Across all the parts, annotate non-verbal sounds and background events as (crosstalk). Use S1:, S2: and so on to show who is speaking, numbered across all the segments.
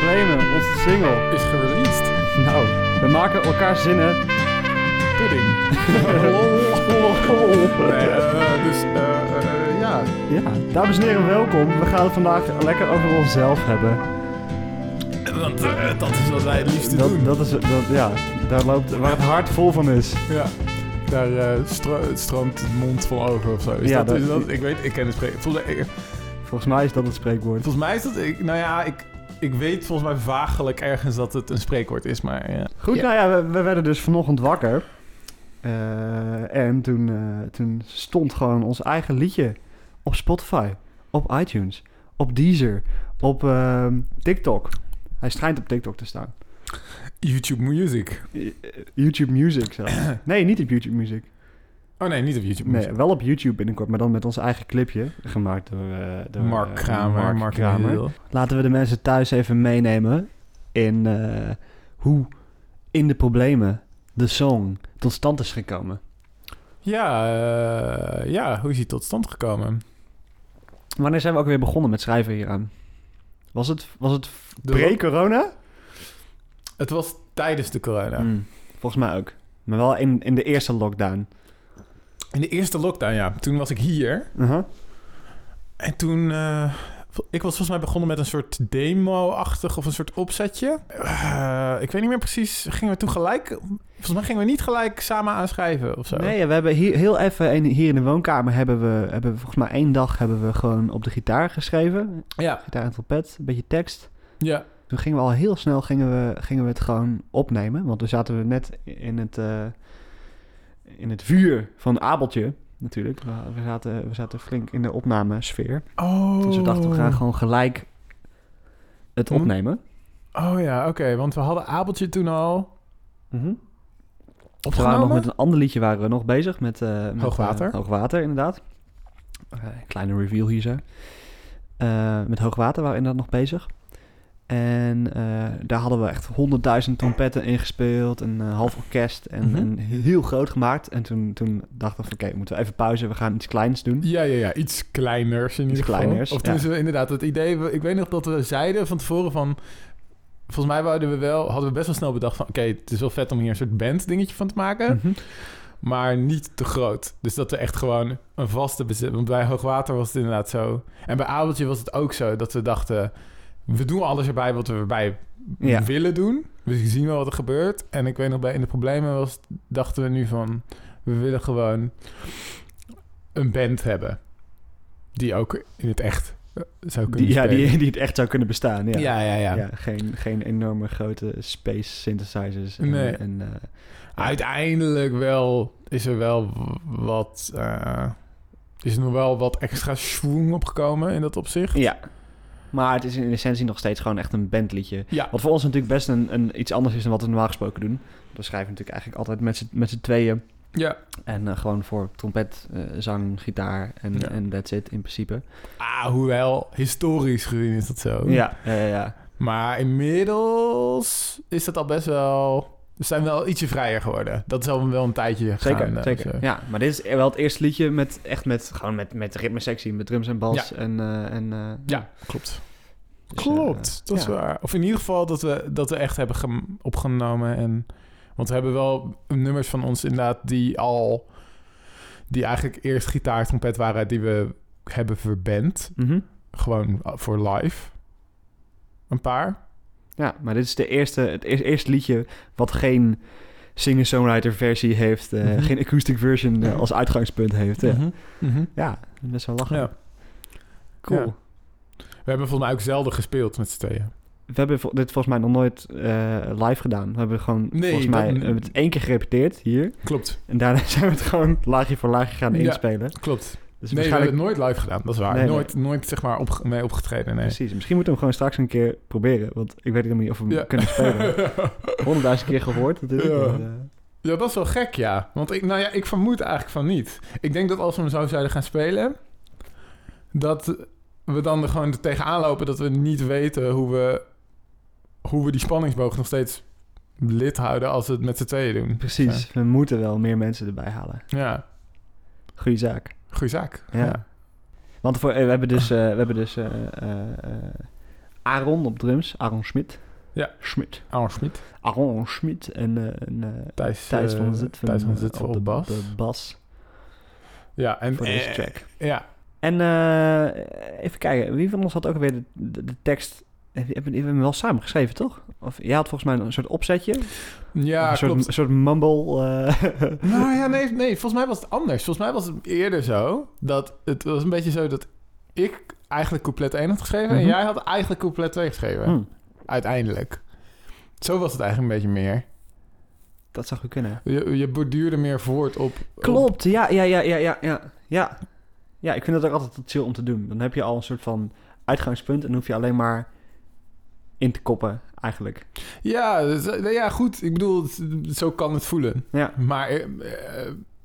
S1: claimen. Onze single.
S2: Is gereleased. (laughs)
S1: Nou, we maken elkaar zinnen.
S2: Pudding. oh, Nee, eh, dus eh, eh, ja.
S1: Ja, dames en heren, welkom. We gaan het vandaag lekker over onszelf hebben.
S2: Want eh, dat is wat wij het liefst
S1: Dat, dat is, dat, ja, daar loopt, waar het hart vol van is.
S2: Ja. Daar eh, stro- stroomt het mond vol over of zo. Is
S1: Ja,
S2: dat, is
S1: dat-
S2: dat, ik weet, ik ken het spreken. Volgens mij, ik-
S1: Volgens mij is dat het spreekwoord.
S2: volgens mij is dat, ik, nou ja, ik, ik weet volgens mij vagelijk ergens dat het een spreekwoord is, maar ja.
S1: Goed,
S2: Ja.
S1: nou ja, we, we werden dus vanochtend wakker. Eh, en toen, eh, toen stond gewoon ons eigen liedje op Spotify, op iTunes, op Deezer, op ehm, TikTok. Hij schijnt op TikTok te staan.
S2: YouTube Music.
S1: Eh, YouTube Music zelfs. Nee, niet op YouTube Music.
S2: Oh nee, niet op eh. YouTube Music.
S1: Nee, wel op YouTube binnenkort, maar dan met ons eigen clipje. Gemaakt door, eh, door,
S2: Mark
S1: eh,
S2: Kramer.
S1: Mark
S2: Mark
S1: Kramer.
S2: Hill.
S1: Laten we de mensen thuis even meenemen in eh, hoe in de problemen de song tot stand is gekomen.
S2: Ja, eh, ja, hoe is hij tot stand gekomen?
S1: Wanneer zijn we ook weer begonnen met schrijven hieraan? Was het, was het
S2: De-
S1: pre-corona?
S2: Het was tijdens de corona.
S1: Hmm, volgens mij ook. Maar wel in, in de eerste lockdown.
S2: In de eerste lockdown, ja. Toen was ik hier.
S1: Uh-huh.
S2: En toen... eh, ik was volgens mij begonnen met een soort demo-achtig of een soort opzetje. Eh, ik weet niet meer precies. Gingen we toen gelijk... Volgens mij gingen we niet gelijk samen aanschrijven of zo.
S1: Nee, we hebben hier heel even in, hier in de woonkamer hebben we, hebben we volgens mij één dag hebben we gewoon op de gitaar geschreven.
S2: Ja,
S1: Gitaar en trompet, een beetje tekst.
S2: ja.
S1: Toen gingen we al heel snel gingen we, gingen we het gewoon opnemen. Want toen zaten we net in het, eh, in het vuur van Abeltje, natuurlijk. We, we zaten, we zaten flink in de opnamesfeer.
S2: Oh.
S1: Dus we dachten, we gaan gewoon gelijk het
S2: Hm.
S1: opnemen.
S2: Oh ja, oké. want we hadden Abeltje toen al Mhm.
S1: We waren nog
S2: opgenomen.
S1: met een ander liedje waren we nog bezig. Met, eh, met, eh,
S2: Hoogwater.
S1: hoogwater, inderdaad. Eh, kleine reveal hier zo. Eh, met Hoogwater waren we inderdaad nog bezig. En eh, daar hadden we echt honderdduizend trompetten ingespeeld. Een eh, half orkest. En,
S2: Mhm.
S1: en heel groot gemaakt. En toen, toen dachten we, van, oké, moeten we even pauze. We gaan iets kleins doen.
S2: Ja, ja, ja. Iets kleiners in ieder geval.
S1: kleiners,
S2: Of
S1: ja.
S2: tenminste, inderdaad, het idee... we- Ik weet nog dat we zeiden van tevoren van... Volgens mij wouden we wel, hadden we best wel snel bedacht van... Oké, het is wel vet om hier een soort band dingetje van te maken.
S1: Mhm.
S2: Maar niet te groot. Dus dat we echt gewoon een vaste bezit... Want bij Hoogwater was het inderdaad zo. En bij Abeltje was het ook zo dat we dachten... We doen alles erbij wat we erbij
S1: Ja.
S2: willen doen. We zien wel wat er gebeurt. En ik weet nog, bij In de Problemen was, dachten we nu van... We willen gewoon een band hebben. Die ook in het echt eh, zou kunnen
S1: Die, ja,
S2: spelen.
S1: die, die het echt zou kunnen bestaan. Ja,
S2: ja, ja, ja.
S1: Ja, geen, geen enorme grote space synthesizers. En,
S2: Nee.
S1: en, eh,
S2: Uiteindelijk wel is er wel w- wat... eh, is er nog wel wat extra schwung opgekomen in dat opzicht.
S1: Ja. Maar het is in essentie nog steeds gewoon echt een bandliedje.
S2: Ja.
S1: Wat voor ons natuurlijk best een, een, iets anders is dan wat we normaal gesproken doen. We schrijven natuurlijk eigenlijk altijd met z'n- met z'n tweeën.
S2: Ja.
S1: En eh, gewoon voor trompet, eh, zang, gitaar en,
S2: Ja.
S1: en that's it in principe.
S2: Ah, hoewel, historisch gezien is dat zo.
S1: Ja, eh, ja.
S2: Maar inmiddels is dat al best wel... We zijn wel ietsje vrijer geworden. Dat is al wel een tijdje gegaan.
S1: zeker.
S2: eh,
S1: zeker.
S2: zo.
S1: Ja, maar dit is wel het eerste liedje met echt met, gewoon met, met ritmesectie, met drums en bas. En, eh, en, eh,
S2: Ja, klopt.
S1: dus, eh,
S2: Klopt, dat is
S1: ja.
S2: waar. Of in ieder geval dat we, dat we echt hebben gem- opgenomen. En, want we hebben wel nummers van ons inderdaad die al... Die eigenlijk eerst gitaar, trompet waren die we hebben verband.
S1: Mhm.
S2: Gewoon voor live. Een paar.
S1: Ja, maar dit is de eerste, het eer- eerste liedje wat geen singer-songwriter versie heeft. eh,
S2: Mhm.
S1: Geen acoustic version eh, als uitgangspunt heeft. ja.
S2: Mhm, mhm.
S1: Ja, best wel lachen.
S2: Ja.
S1: Cool.
S2: Ja. We hebben volgens mij ook zelden gespeeld met z'n tweeën.
S1: We hebben vo- dit volgens mij nog nooit eh, live gedaan. We hebben gewoon
S2: Nee,
S1: volgens
S2: dat-
S1: mij we hebben het één keer gerepeteerd hier.
S2: Klopt,
S1: En daarna (laughs) zijn we het gewoon laagje voor laagje gaan
S2: Ja.
S1: inspelen.
S2: klopt.
S1: Dus
S2: nee,
S1: waarschijnlijk...
S2: we hebben het nooit live gedaan, dat is waar.
S1: Nee, nee.
S2: nooit, nooit zeg maar op, mee opgetreden, nee.
S1: Precies. Misschien moeten we hem gewoon straks een keer proberen. Want ik weet helemaal niet of we hem
S2: Ja.
S1: kunnen
S2: (laughs)
S1: spelen. Honderdduizend keer gehoord natuurlijk.
S2: Ja.
S1: maar, eh,
S2: ja, dat is wel gek, ja. Want ik, nou ja, ik vermoed eigenlijk van niet. Ik denk dat als we hem zo zouden gaan spelen, dat we dan er gewoon tegenaan lopen dat we niet weten hoe we, hoe we die spanningsboog nog steeds lid houden als we het met z'n tweeën doen.
S1: precies. We moeten wel meer mensen erbij halen.
S2: Zo. Ja,
S1: Goeie zaak.
S2: goede zaak.
S1: Ja. Want voor, eh, we hebben dus, eh, we hebben dus eh, eh, eh, Aaron op drums. Aaron Schmid.
S2: Ja.
S1: Schmid.
S2: Aaron Schmid.
S1: Aaron Schmid en, eh, en eh,
S2: Thijs,
S1: Thijs
S2: eh,
S1: van Zutphen,
S2: Thijs van
S1: eh,
S2: Zutphen op,
S1: de
S2: bas.
S1: de bas
S2: Ja, en...
S1: voor deze
S2: eh,
S1: track.
S2: Ja,
S1: En eh, even kijken, wie van ons had ook weer de, de, de tekst... Heb je heb je- heb je hem wel samen geschreven, toch? Of jij had volgens mij een soort opzetje.
S2: ja
S1: een soort,
S2: klopt.
S1: een soort mumble.
S2: (laughs)
S1: eh,
S2: Nou ja, nee, nee, volgens mij was het anders. Volgens mij was het eerder zo dat het was een beetje zo dat ik eigenlijk couplet 1 had geschreven
S1: Mhm.
S2: en jij had eigenlijk couplet 2 geschreven.
S1: hm,
S2: Uiteindelijk. Zo was het eigenlijk een beetje meer.
S1: dat zou goed kunnen.
S2: Je, je borduurde meer voort op. op-
S1: Klopt, ja, ja, ja, ja, ja, ja, ja. Ja, ik vind dat ook altijd chill om te doen. Dan heb je al een soort van uitgangspunt en hoef je alleen maar in te koppen, eigenlijk.
S2: Ja, dus, eh, ja, goed. Ik bedoel, het- zo kan het voelen.
S1: Ja.
S2: Maar eh,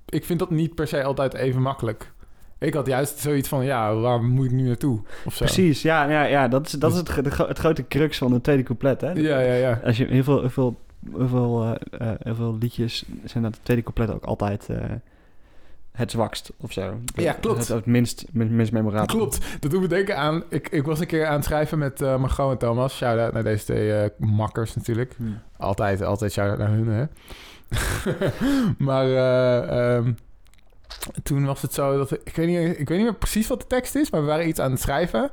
S2: ik vind dat niet per se altijd even makkelijk. Ik had juist zoiets van, ja, waar moet ik nu naartoe? Of zo.
S1: Precies, ja, ja, ja dat is, dat is het, ge- de gro- het grote crux van het tweede couplet, hè?
S2: Ja, ja, ja.
S1: Als je heel veel, heel veel, heel veel, eh, eh, heel veel liedjes zijn dat het tweede couplet ook altijd eh, het zwakst of zo.
S2: Ja, klopt.
S1: Het, het minst, min- minst memorabel.
S2: Klopt. Dat doet me denken aan... Ik, ik was een keer aan het schrijven met eh Margot en Thomas. Shout-out naar deze twee eh, makkers natuurlijk.
S1: Hm.
S2: Altijd, altijd shout-out naar hun, hè. (laughs) maar eh, ehm, toen was het zo dat... Ik weet, niet, ik weet niet meer precies wat de tekst is, maar we waren iets aan het schrijven.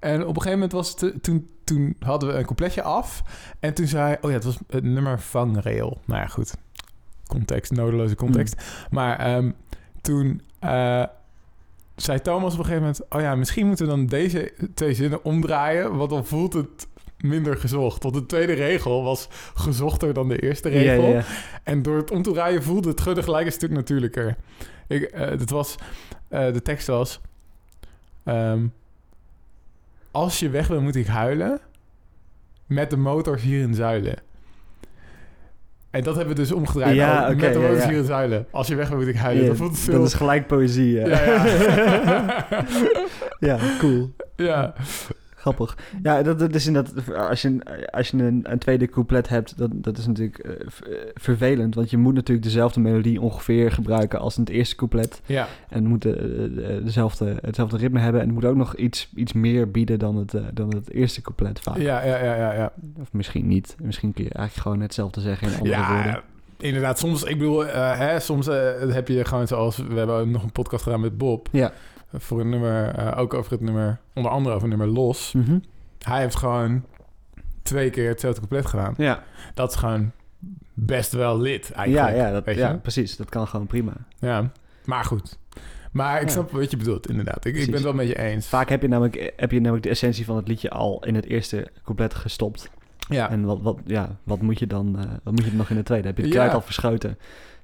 S2: En op een gegeven moment was het... eh, Toen, toen hadden we een coupletje af. En toen zei... Oh ja, het was het nummer vangrail. Nou ja, goed. Context, nodeloze context. Maar ehm, toen... eh, zei Thomas op een gegeven moment... Oh ja, misschien moeten we dan deze twee zinnen omdraaien. Want dan voelt het minder gezocht. Want de tweede regel was gezochter dan de eerste
S1: Ja,
S2: regel.
S1: ja, ja.
S2: En door het om te draaien voelde het gudde gelijk een stuk natuurlijker. Ik, eh, het was, eh, de tekst was... ehm, als je weg wil, moet ik huilen. Met de motors hier in zuilen. En dat hebben we dus omgedraaid.
S1: Ja,
S2: Oh,
S1: oké,
S2: met de
S1: ja,
S2: motors
S1: ja.
S2: hier in zuilen. Als je weg wil, moet ik huilen.
S1: Ja,
S2: dat voelt het veel...
S1: dat is gelijk poëzie, hè?
S2: Ja, ja.
S1: (laughs) ja, cool.
S2: ja.
S1: Grappig. Ja, dat, dat is inderdaad... Als je, een- als je een, een tweede couplet hebt, dat, dat is natuurlijk eh, ver- eh, vervelend. Want je moet natuurlijk dezelfde melodie ongeveer gebruiken als in het eerste couplet.
S2: ja.
S1: En het moet eh, eh, dezelfde, hetzelfde ritme hebben. En het moet ook nog iets, iets meer bieden dan het, eh, dan het eerste couplet vaak.
S2: Ja, ja, ja, ja, ja.
S1: Of misschien niet. Misschien kun je eigenlijk gewoon hetzelfde zeggen in andere
S2: Ja,
S1: woorden.
S2: inderdaad. Soms, ik bedoel, eh, hè, soms eh, heb je gewoon zoals... We hebben nog een podcast gedaan met Bob.
S1: Ja.
S2: Voor een nummer, eh, ook over het nummer... Onder andere over het nummer Los.
S1: Mhm.
S2: Hij heeft gewoon twee keer hetzelfde compleet gedaan.
S1: Ja,
S2: Dat is gewoon best wel lid
S1: ja,
S2: eigenlijk.
S1: ja, dat,
S2: weet
S1: ja,
S2: je?
S1: precies. Dat kan gewoon prima.
S2: Ja. Maar goed. Maar ik
S1: Ja.
S2: snap wat je bedoelt, inderdaad. Ik, ik ben
S1: Precies.
S2: het wel met je eens.
S1: Vaak heb je, namelijk, heb je namelijk de essentie van het liedje al in het eerste couplet gestopt.
S2: Ja.
S1: En wat, wat, ja, wat moet je dan eh, wat moet je dan nog in het tweede? Heb je de
S2: Ja.
S1: kruid al verschoten?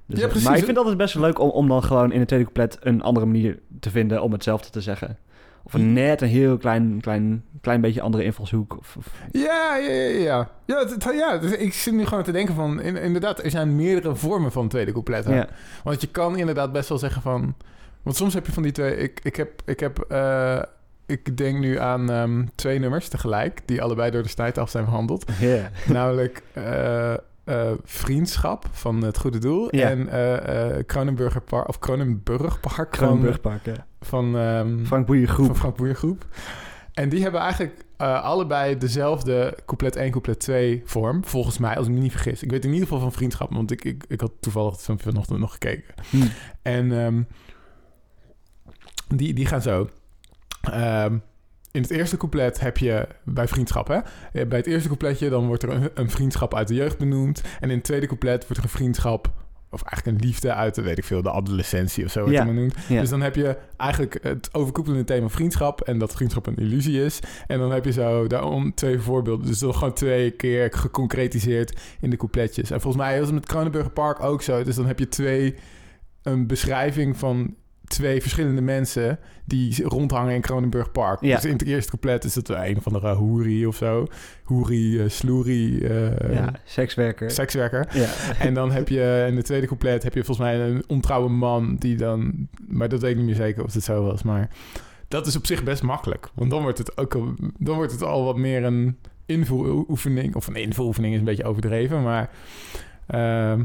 S1: Dus,
S2: Ja,
S1: eh,
S2: precies.
S1: Maar ik vind het altijd best wel leuk om, om dan gewoon in het tweede couplet een andere manier te vinden om hetzelfde te zeggen. Of
S2: Mm.
S1: een net een heel klein, klein, klein beetje andere invalshoek. Of, of-
S2: Ja, ja, ja, ja. Ja, het- het- ja, dus ik zit nu gewoon te denken van... in- inderdaad, er zijn meerdere vormen van tweede coupletten.
S1: ja.
S2: Want je kan inderdaad best wel zeggen van... Want soms heb je van die twee... Ik, ik heb... Ik, heb eh, ik denk nu aan ehm, twee nummers tegelijk... die allebei door de snijd af zijn
S1: (laughs)
S2: behandeld. (laughs)
S1: Ja.
S2: Namelijk eh, eh, Vriendschap van Het Goede Doel...
S1: Ja.
S2: en eh eh Kronenburger Park... of Kronenburg Park
S1: Kronenburg pakken.
S2: van, van, ehm,
S1: Frank Boeien
S2: van
S1: groep.
S2: Frank Boeijen Groep. En die hebben eigenlijk eh, allebei dezelfde couplet 1, couplet 2 vorm. Volgens mij, als ik me niet vergis. Ik weet in ieder geval van vriendschap, want ik, ik, ik had toevallig het filmpje vanochtend nog gekeken.
S1: Hm.
S2: En ehm, die, die gaan zo. Ehm, in het eerste couplet heb je bij vriendschap, hè? Eh, Bij het eerste coupletje dan wordt er een, een vriendschap uit de jeugd benoemd. En in het tweede couplet wordt er een vriendschap, of eigenlijk een liefde uit, de, weet ik veel, de adolescentie of zo wordt
S1: Ja.
S2: er benoemd.
S1: Ja.
S2: Dus dan heb je eigenlijk het overkoepelende thema vriendschap en dat vriendschap een illusie is. En dan heb je zo daarom twee voorbeelden. Dus dan gewoon twee keer geconcretiseerd in de coupletjes. En volgens mij was het met Kronenburger Park ook zo. Dus dan heb je twee, een beschrijving van twee verschillende mensen die rondhangen in Kronenburg Park.
S1: Ja.
S2: Dus in het eerste couplet is dat een of andere hoerie of zo. Hoerie, eh, sloerie, eh,
S1: ja, sekswerker.
S2: sekswerker.
S1: ja.
S2: En dan heb je in de tweede couplet heb je volgens mij een ontrouwe man die dan... Maar dat weet ik niet meer zeker of dat zo was. Maar dat is op zich best makkelijk. Want dan wordt het, ook, al- dan wordt het al wat meer een invoeroefening. Of een invoeroefening is een beetje overdreven, maar... ehm,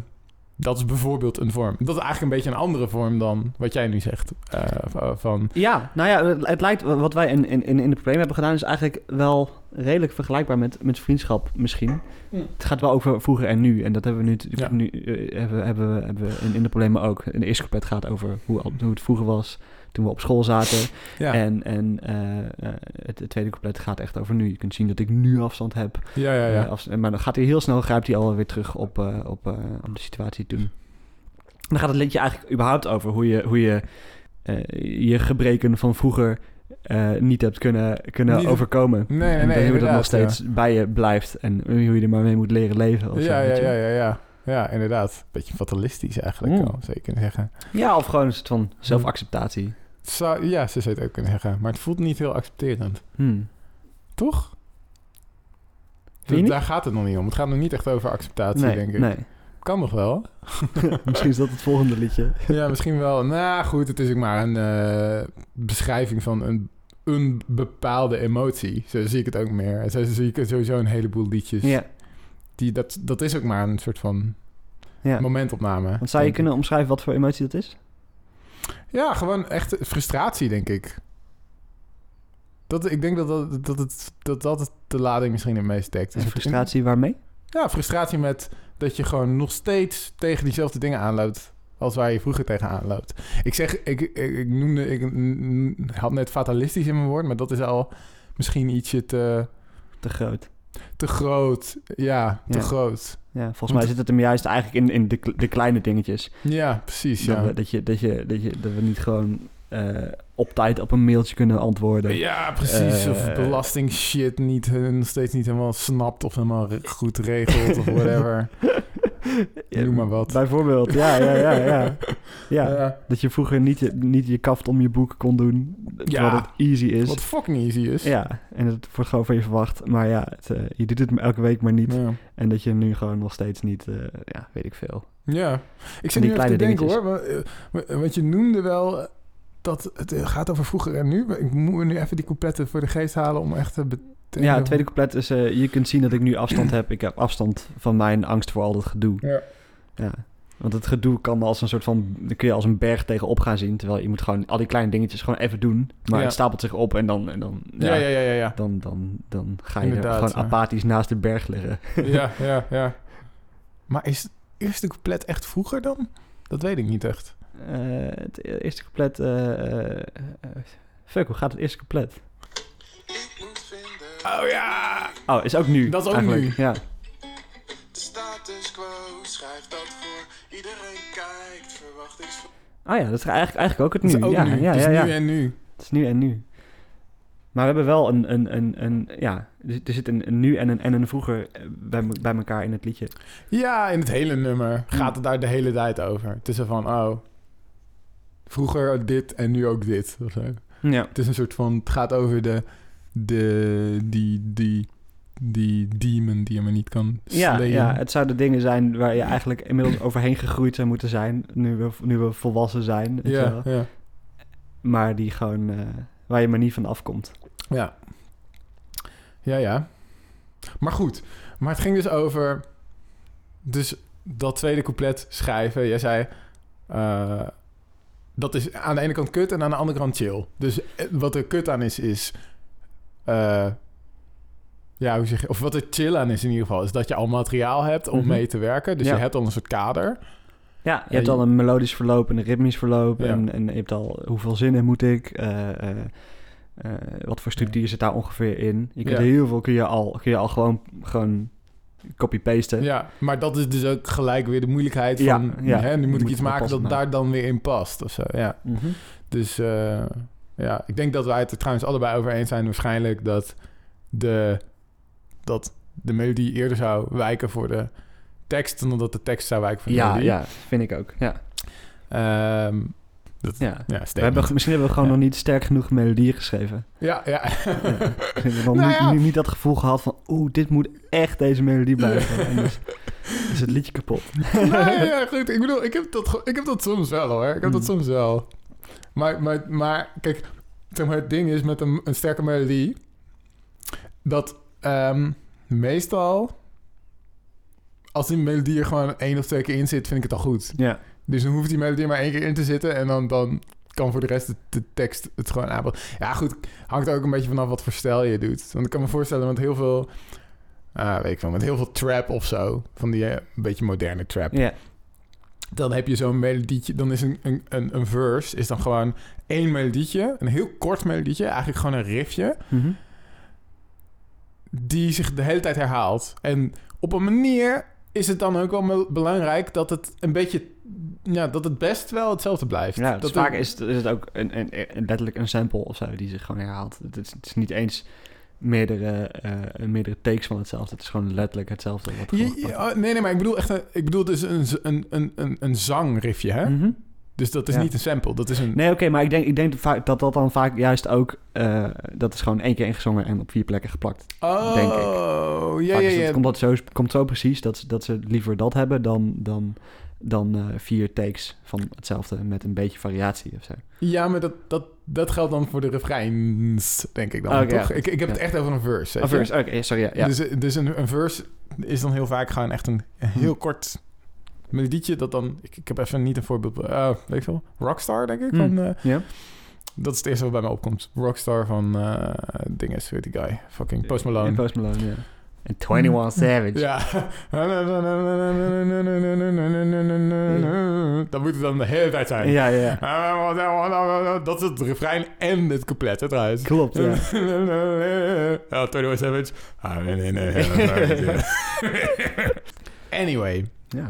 S2: Dat is bijvoorbeeld een vorm. Dat is eigenlijk een beetje een andere vorm dan wat jij nu zegt. eh, va- van,
S1: Ja, nou ja, het- het lijkt wat wij in, in, in in het probleem hebben gedaan, is eigenlijk wel redelijk vergelijkbaar met, met vriendschap misschien.
S2: Mm.
S1: Het gaat wel over vroeger en nu. En dat hebben we nu,
S2: Ja.
S1: natuurlijk nu eh, hebben, we- hebben, we- hebben we in, in de problemen ook. In de eerste couplet gaat over hoe, al- hoe het vroeger was toen we op school zaten.
S2: ja,
S1: En, en eh, eh, het, het tweede couplet gaat echt over nu. Je kunt zien dat ik nu afstand heb.
S2: ja, ja,
S1: Eh,
S2: ja.
S1: afs- maar dan gaat hij heel snel, grijpt hij alweer terug op, eh, op, eh, op de situatie toen. Dan gaat het liedje eigenlijk überhaupt over hoe je hoe je, eh, je gebreken van vroeger eh, niet hebt kunnen, kunnen
S2: Niet-
S1: overkomen.
S2: Nee, nee,
S1: en hoe
S2: nee,
S1: dat nog
S2: inderdaad,
S1: steeds bij je blijft en hoe je er maar mee moet leren leven. Of zo,
S2: Ja, ja,
S1: weet je.
S2: ja, ja, ja. Ja, inderdaad. Beetje fatalistisch eigenlijk,
S1: Mm.
S2: al, zou je kunnen zeggen.
S1: Ja, of gewoon een soort van zelfacceptatie.
S2: Het Zou, ja, ze zou het ook kunnen zeggen. Maar het voelt niet heel accepterend.
S1: Hmm.
S2: Toch?
S1: Vind je niet?
S2: Daar gaat het nog niet om. Het gaat nog niet echt over acceptatie,
S1: Nee,
S2: denk ik.
S1: (laughs) nee.
S2: Kan nog wel.
S1: Misschien is dat het volgende liedje.
S2: Ja, misschien wel. Nou goed, het is ook maar een eh, beschrijving van een, een bepaalde emotie. Zo zie ik het ook meer. En Zo zie ik sowieso een heleboel liedjes.
S1: Ja.
S2: Die, dat, dat is ook maar een soort van
S1: Ja.
S2: momentopname.
S1: Want zou je
S2: denk ik.
S1: kunnen omschrijven wat voor emotie dat is?
S2: Ja, gewoon echt frustratie, denk ik. Dat, ik denk dat dat, dat, het, dat dat het de lading misschien het meest dekt.
S1: En
S2: Een soort in-
S1: frustratie waarmee?
S2: Ja, frustratie met dat je gewoon nog steeds tegen diezelfde dingen aanloopt als waar je vroeger tegen aanloopt. Ik zeg, ik, ik, ik noemde, ik mm, had net fatalistisch in mijn woord, maar dat is al misschien ietsje te,
S1: Te groot.
S2: te groot. Ja, te
S1: Ja.
S2: groot.
S1: Ja, volgens mij zit het hem juist eigenlijk in, in de, kle- de kleine dingetjes.
S2: Ja, precies.
S1: Dat,
S2: Ja,
S1: we, dat, je, dat, je, dat, je, dat we niet gewoon eh, op tijd op een mailtje kunnen antwoorden.
S2: ja precies. of
S1: Eh,
S2: belasting shit niet, eh, nog steeds niet helemaal snapt of helemaal re- goed regelt of whatever.
S1: Ja,
S2: Noem maar wat.
S1: Bijvoorbeeld, (laughs) ja, ja, ja. ja. ja.
S2: (laughs) Ja.
S1: Dat je vroeger niet je, niet je kaft om je boek kon doen, terwijl
S2: Ja.
S1: het easy is.
S2: Wat fucking easy is.
S1: Dus- Ja, en het wordt gewoon van je verwacht. Maar ja, het, eh, je doet het maar elke week maar niet.
S2: Ja.
S1: En dat je nu gewoon nog steeds niet, eh, ja, weet ik veel.
S2: Ja, ik
S1: die
S2: zit nu even te
S1: kleine
S2: denken
S1: dingetjes.
S2: hoor. Want, eh, wa- Want je noemde wel eh, dat het eh, gaat over vroeger en nu. Maar Ik moet me nu even die coupletten voor de geest halen om echt te... be- te-
S1: Ja, het tweede couplet is, eh, je kunt zien dat ik nu afstand heb. Ik heb afstand van mijn angst voor al dat gedoe.
S2: Ja.
S1: Ja. Want het gedoe kan als een soort van, dan kun je als een berg tegenop gaan zien. Terwijl je moet gewoon al die kleine dingetjes gewoon even doen. Maar
S2: Ja.
S1: het stapelt zich op en dan, en dan, ja,
S2: Ja, ja, ja, ja. Ja,
S1: Dan, dan, dan ga je er
S2: Inderdaad,
S1: gewoon
S2: ja.
S1: apathisch naast de berg liggen.
S2: ja, ja, ja. Maar is het eerste couplet echt vroeger dan? Dat weet ik niet echt.
S1: Eh, het eerste couplet, eh, eh, eh, fuck, hoe gaat het eerste couplet?
S3: Ik moet vinden
S2: Oh ja!
S1: Oh, is ook nu.
S2: Dat is ook
S1: eigenlijk.
S2: nu.
S1: Ja.
S3: de status quo. Schrijf dat voor iedereen kijkt. Verwachtings.
S1: Ah ja, dat is eigenlijk, eigenlijk ook het
S2: Dat
S1: nu.
S2: is ook
S1: ja,
S2: nu.
S1: Ja,
S2: Het is
S1: ja, ja.
S2: nu en nu.
S1: Het is nu en nu. Maar we hebben wel een, een, een, een ja, er er zit een, een nu en een, en een vroeger eh, bij, me- bij elkaar in het liedje.
S2: Ja, in het hele nummer
S1: Hm.
S2: gaat het daar de hele tijd over. Het is er van, oh... Vroeger dit en nu ook dit. Of zo.
S1: Ja.
S2: Het is een soort van. Het gaat over de. de die, die, die demon die je maar niet kan
S1: Ja,
S2: slayen.
S1: ja, het zouden dingen zijn waar je eigenlijk inmiddels overheen gegroeid zou moeten zijn, nu we, nu we volwassen zijn. weet je
S2: ja,
S1: wel.
S2: ja.
S1: Maar die gewoon, eh, waar je maar niet van afkomt.
S2: ja. Ja, ja. Maar goed. Maar het ging dus over. Dus dat tweede couplet schrijven. Jij zei. eh, dat is aan de ene kant kut en aan de andere kant chill. Dus eh, wat er kut aan is, is. eh, ja, hoe zeg je? Of wat er chill aan is in ieder geval, is dat je al materiaal hebt om
S1: Mhm.
S2: mee te werken. Dus
S1: Ja.
S2: je hebt al een soort kader.
S1: Ja, je
S2: Ja,
S1: hebt
S2: je-
S1: al een melodisch verloop en een ritmisch verloop.
S2: Ja.
S1: En, en je hebt al hoeveel zinnen moet ik. eh, eh, eh, wat voor structuur zit daar ongeveer in? Je kunt
S2: Ja.
S1: heel veel kun je al, kun je al gewoon, gewoon copy-pasten.
S2: Ja, maar dat is dus ook gelijk weer de moeilijkheid
S1: Ja,
S2: van...
S1: ja.
S2: Hè, nu
S1: Moet
S2: moet ik
S1: het
S2: iets maken dat
S1: passen, nou.
S2: daar dan weer in past of zo, ja.
S1: Mhm.
S2: Dus eh, ja, ik denk dat wij het er trouwens allebei over eens zijn waarschijnlijk... dat de, dat de melodie eerder zou wijken voor de tekst... dan dat de tekst zou wijken voor de
S1: Ja,
S2: melodie.
S1: ja, vind ik ook. Ja.
S2: Ja, dat, ja.
S1: Ja. We
S2: statement.
S1: hebben, misschien hebben we gewoon
S2: Ja.
S1: nog niet sterk genoeg melodieën geschreven.
S2: ja, (laughs) ja.
S1: We hebben nog
S2: (laughs) Nou
S1: niet,
S2: ja.
S1: niet, niet dat gevoel gehad van... oeh, dit moet echt deze melodie blijven.
S2: (laughs)
S1: Anders is het liedje kapot.
S2: Nou, ja, ja, goed. Ik bedoel, ik heb dat, ge- ik heb dat soms wel hoor. Ik heb dat
S1: Mm.
S2: soms wel. Maar, maar, maar kijk, zeg maar, het ding is met een, een sterke melodie... dat ehm, meestal als die melodie er gewoon één of twee keer in zit, vind ik het al goed.
S1: Ja.
S2: Dus dan hoeft die melodie maar één keer in te zitten en dan, dan kan voor de rest de, de tekst het gewoon aanpassen. Ja, goed, hangt ook een beetje vanaf wat voor stijl je doet. Want ik kan me voorstellen met heel veel, ah, weet ik wel, met heel veel trap of zo, van die eh, een beetje moderne trap.
S1: ja.
S2: Dan heb je zo'n melodietje, dan is een, een, een, een verse, is dan gewoon één melodietje, een heel kort melodietje, eigenlijk gewoon een riffje,
S1: Mhm.
S2: die zich de hele tijd herhaalt. En op een manier is het dan ook wel mel- belangrijk dat het een beetje, ja, dat het best wel hetzelfde blijft.
S1: Ja, dus
S2: dat
S1: vaak
S2: er-
S1: is, het- is het ook een, een, een- letterlijk een sample of zo die zich gewoon herhaalt. Het is, het is niet eens meerdere, eh, meerdere takes van hetzelfde. Het is gewoon letterlijk hetzelfde. Wat
S2: Ja,
S1: gewoon
S2: ja, oh, nee, nee, maar ik bedoel echt een, ik bedoel dus een, z- een, een, een, een zangriffje, hè?
S1: Mhm.
S2: Dus dat is
S1: Ja.
S2: niet een sample, dat is een...
S1: Nee, oké, maar ik denk, ik denk vaak dat dat dan vaak juist ook... eh, dat is gewoon één keer ingezongen en op vier plekken geplakt.
S2: oh,
S1: denk ik.
S2: ja,
S1: Vaak
S2: Oh, ja,
S1: is dat-
S2: ja.
S1: komt dat zo, komt zo precies dat, ze- dat ze liever dat hebben dan, dan, dan eh, vier takes van hetzelfde met een beetje variatie of zo.
S2: Ja, maar dat, dat, dat geldt dan voor de refreins, denk ik dan,
S1: Oké,
S2: toch?
S1: ja.
S2: Ik, ik heb het
S1: Ja.
S2: echt over een verse,
S1: Oh,
S2: weet je?
S1: verse, oké, sorry, ja. ja.
S2: Dus, dus een, een verse is dan heel vaak gewoon echt een, een heel
S1: Hm.
S2: kort melodietje dat dan... Ik, ik heb even niet een voorbeeld... eh, weet ik veel? Rockstar, denk ik,
S1: Hmm.
S2: van... eh,
S1: Ja.
S2: dat is het eerste wat bij me opkomt. Rockstar van... eh dinges, weet die guy. Fucking Post Malone.
S1: En Post Malone, ja. En 21 Savage.
S2: Ja. (laughs) Dat moet het dan de hele tijd zijn. Eh,
S1: ja, ja.
S2: Dat is het refrein en het couplet, hè, trouwens.
S1: Klopt, ja.
S2: (laughs) Ja, Tony was "Ah, Savage. eh." (laughs) Anyway.
S1: ja.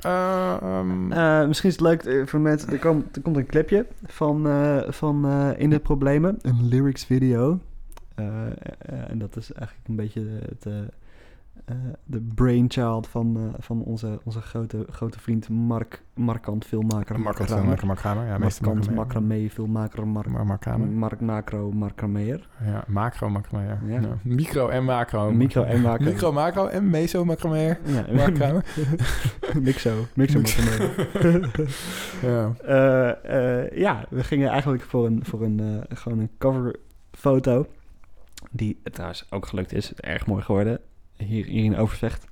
S2: Eh, ehm,
S1: Eh, misschien is het leuk eh, voor mensen. Er, kom, er komt een clipje van, eh, van eh, In de Problemen. Een lyrics video. Eh, eh, en dat is eigenlijk een beetje het, eh, eh, de brainchild van, eh, van onze, onze grote, grote vriend Mark, Markant filmmaker.
S2: Mark had
S1: Kramer.
S2: Mark Kramer. Ja, meestal
S1: Markant
S2: Mark Kramer.
S1: macramee filmmaker Mark,
S2: Maar Mark Kramer.
S1: Mark Macro
S2: (laughs)
S1: Markrameer.
S2: Ja, macro Mark Kramer.
S1: Ja.
S2: Ja. Micro en macro.
S1: Micro en macro.
S2: Micro, macro en meso Mark Kramer.
S1: Ja,
S2: Mark Kramer.
S1: (laughs) Mixo. Mixo Markrameer.
S2: ja.
S1: Eh, eh, ja, we gingen eigenlijk voor een, voor een, eh, gewoon een coverfoto. Die trouwens ook gelukt is. Erg mooi geworden. Hier, hier in Overvecht.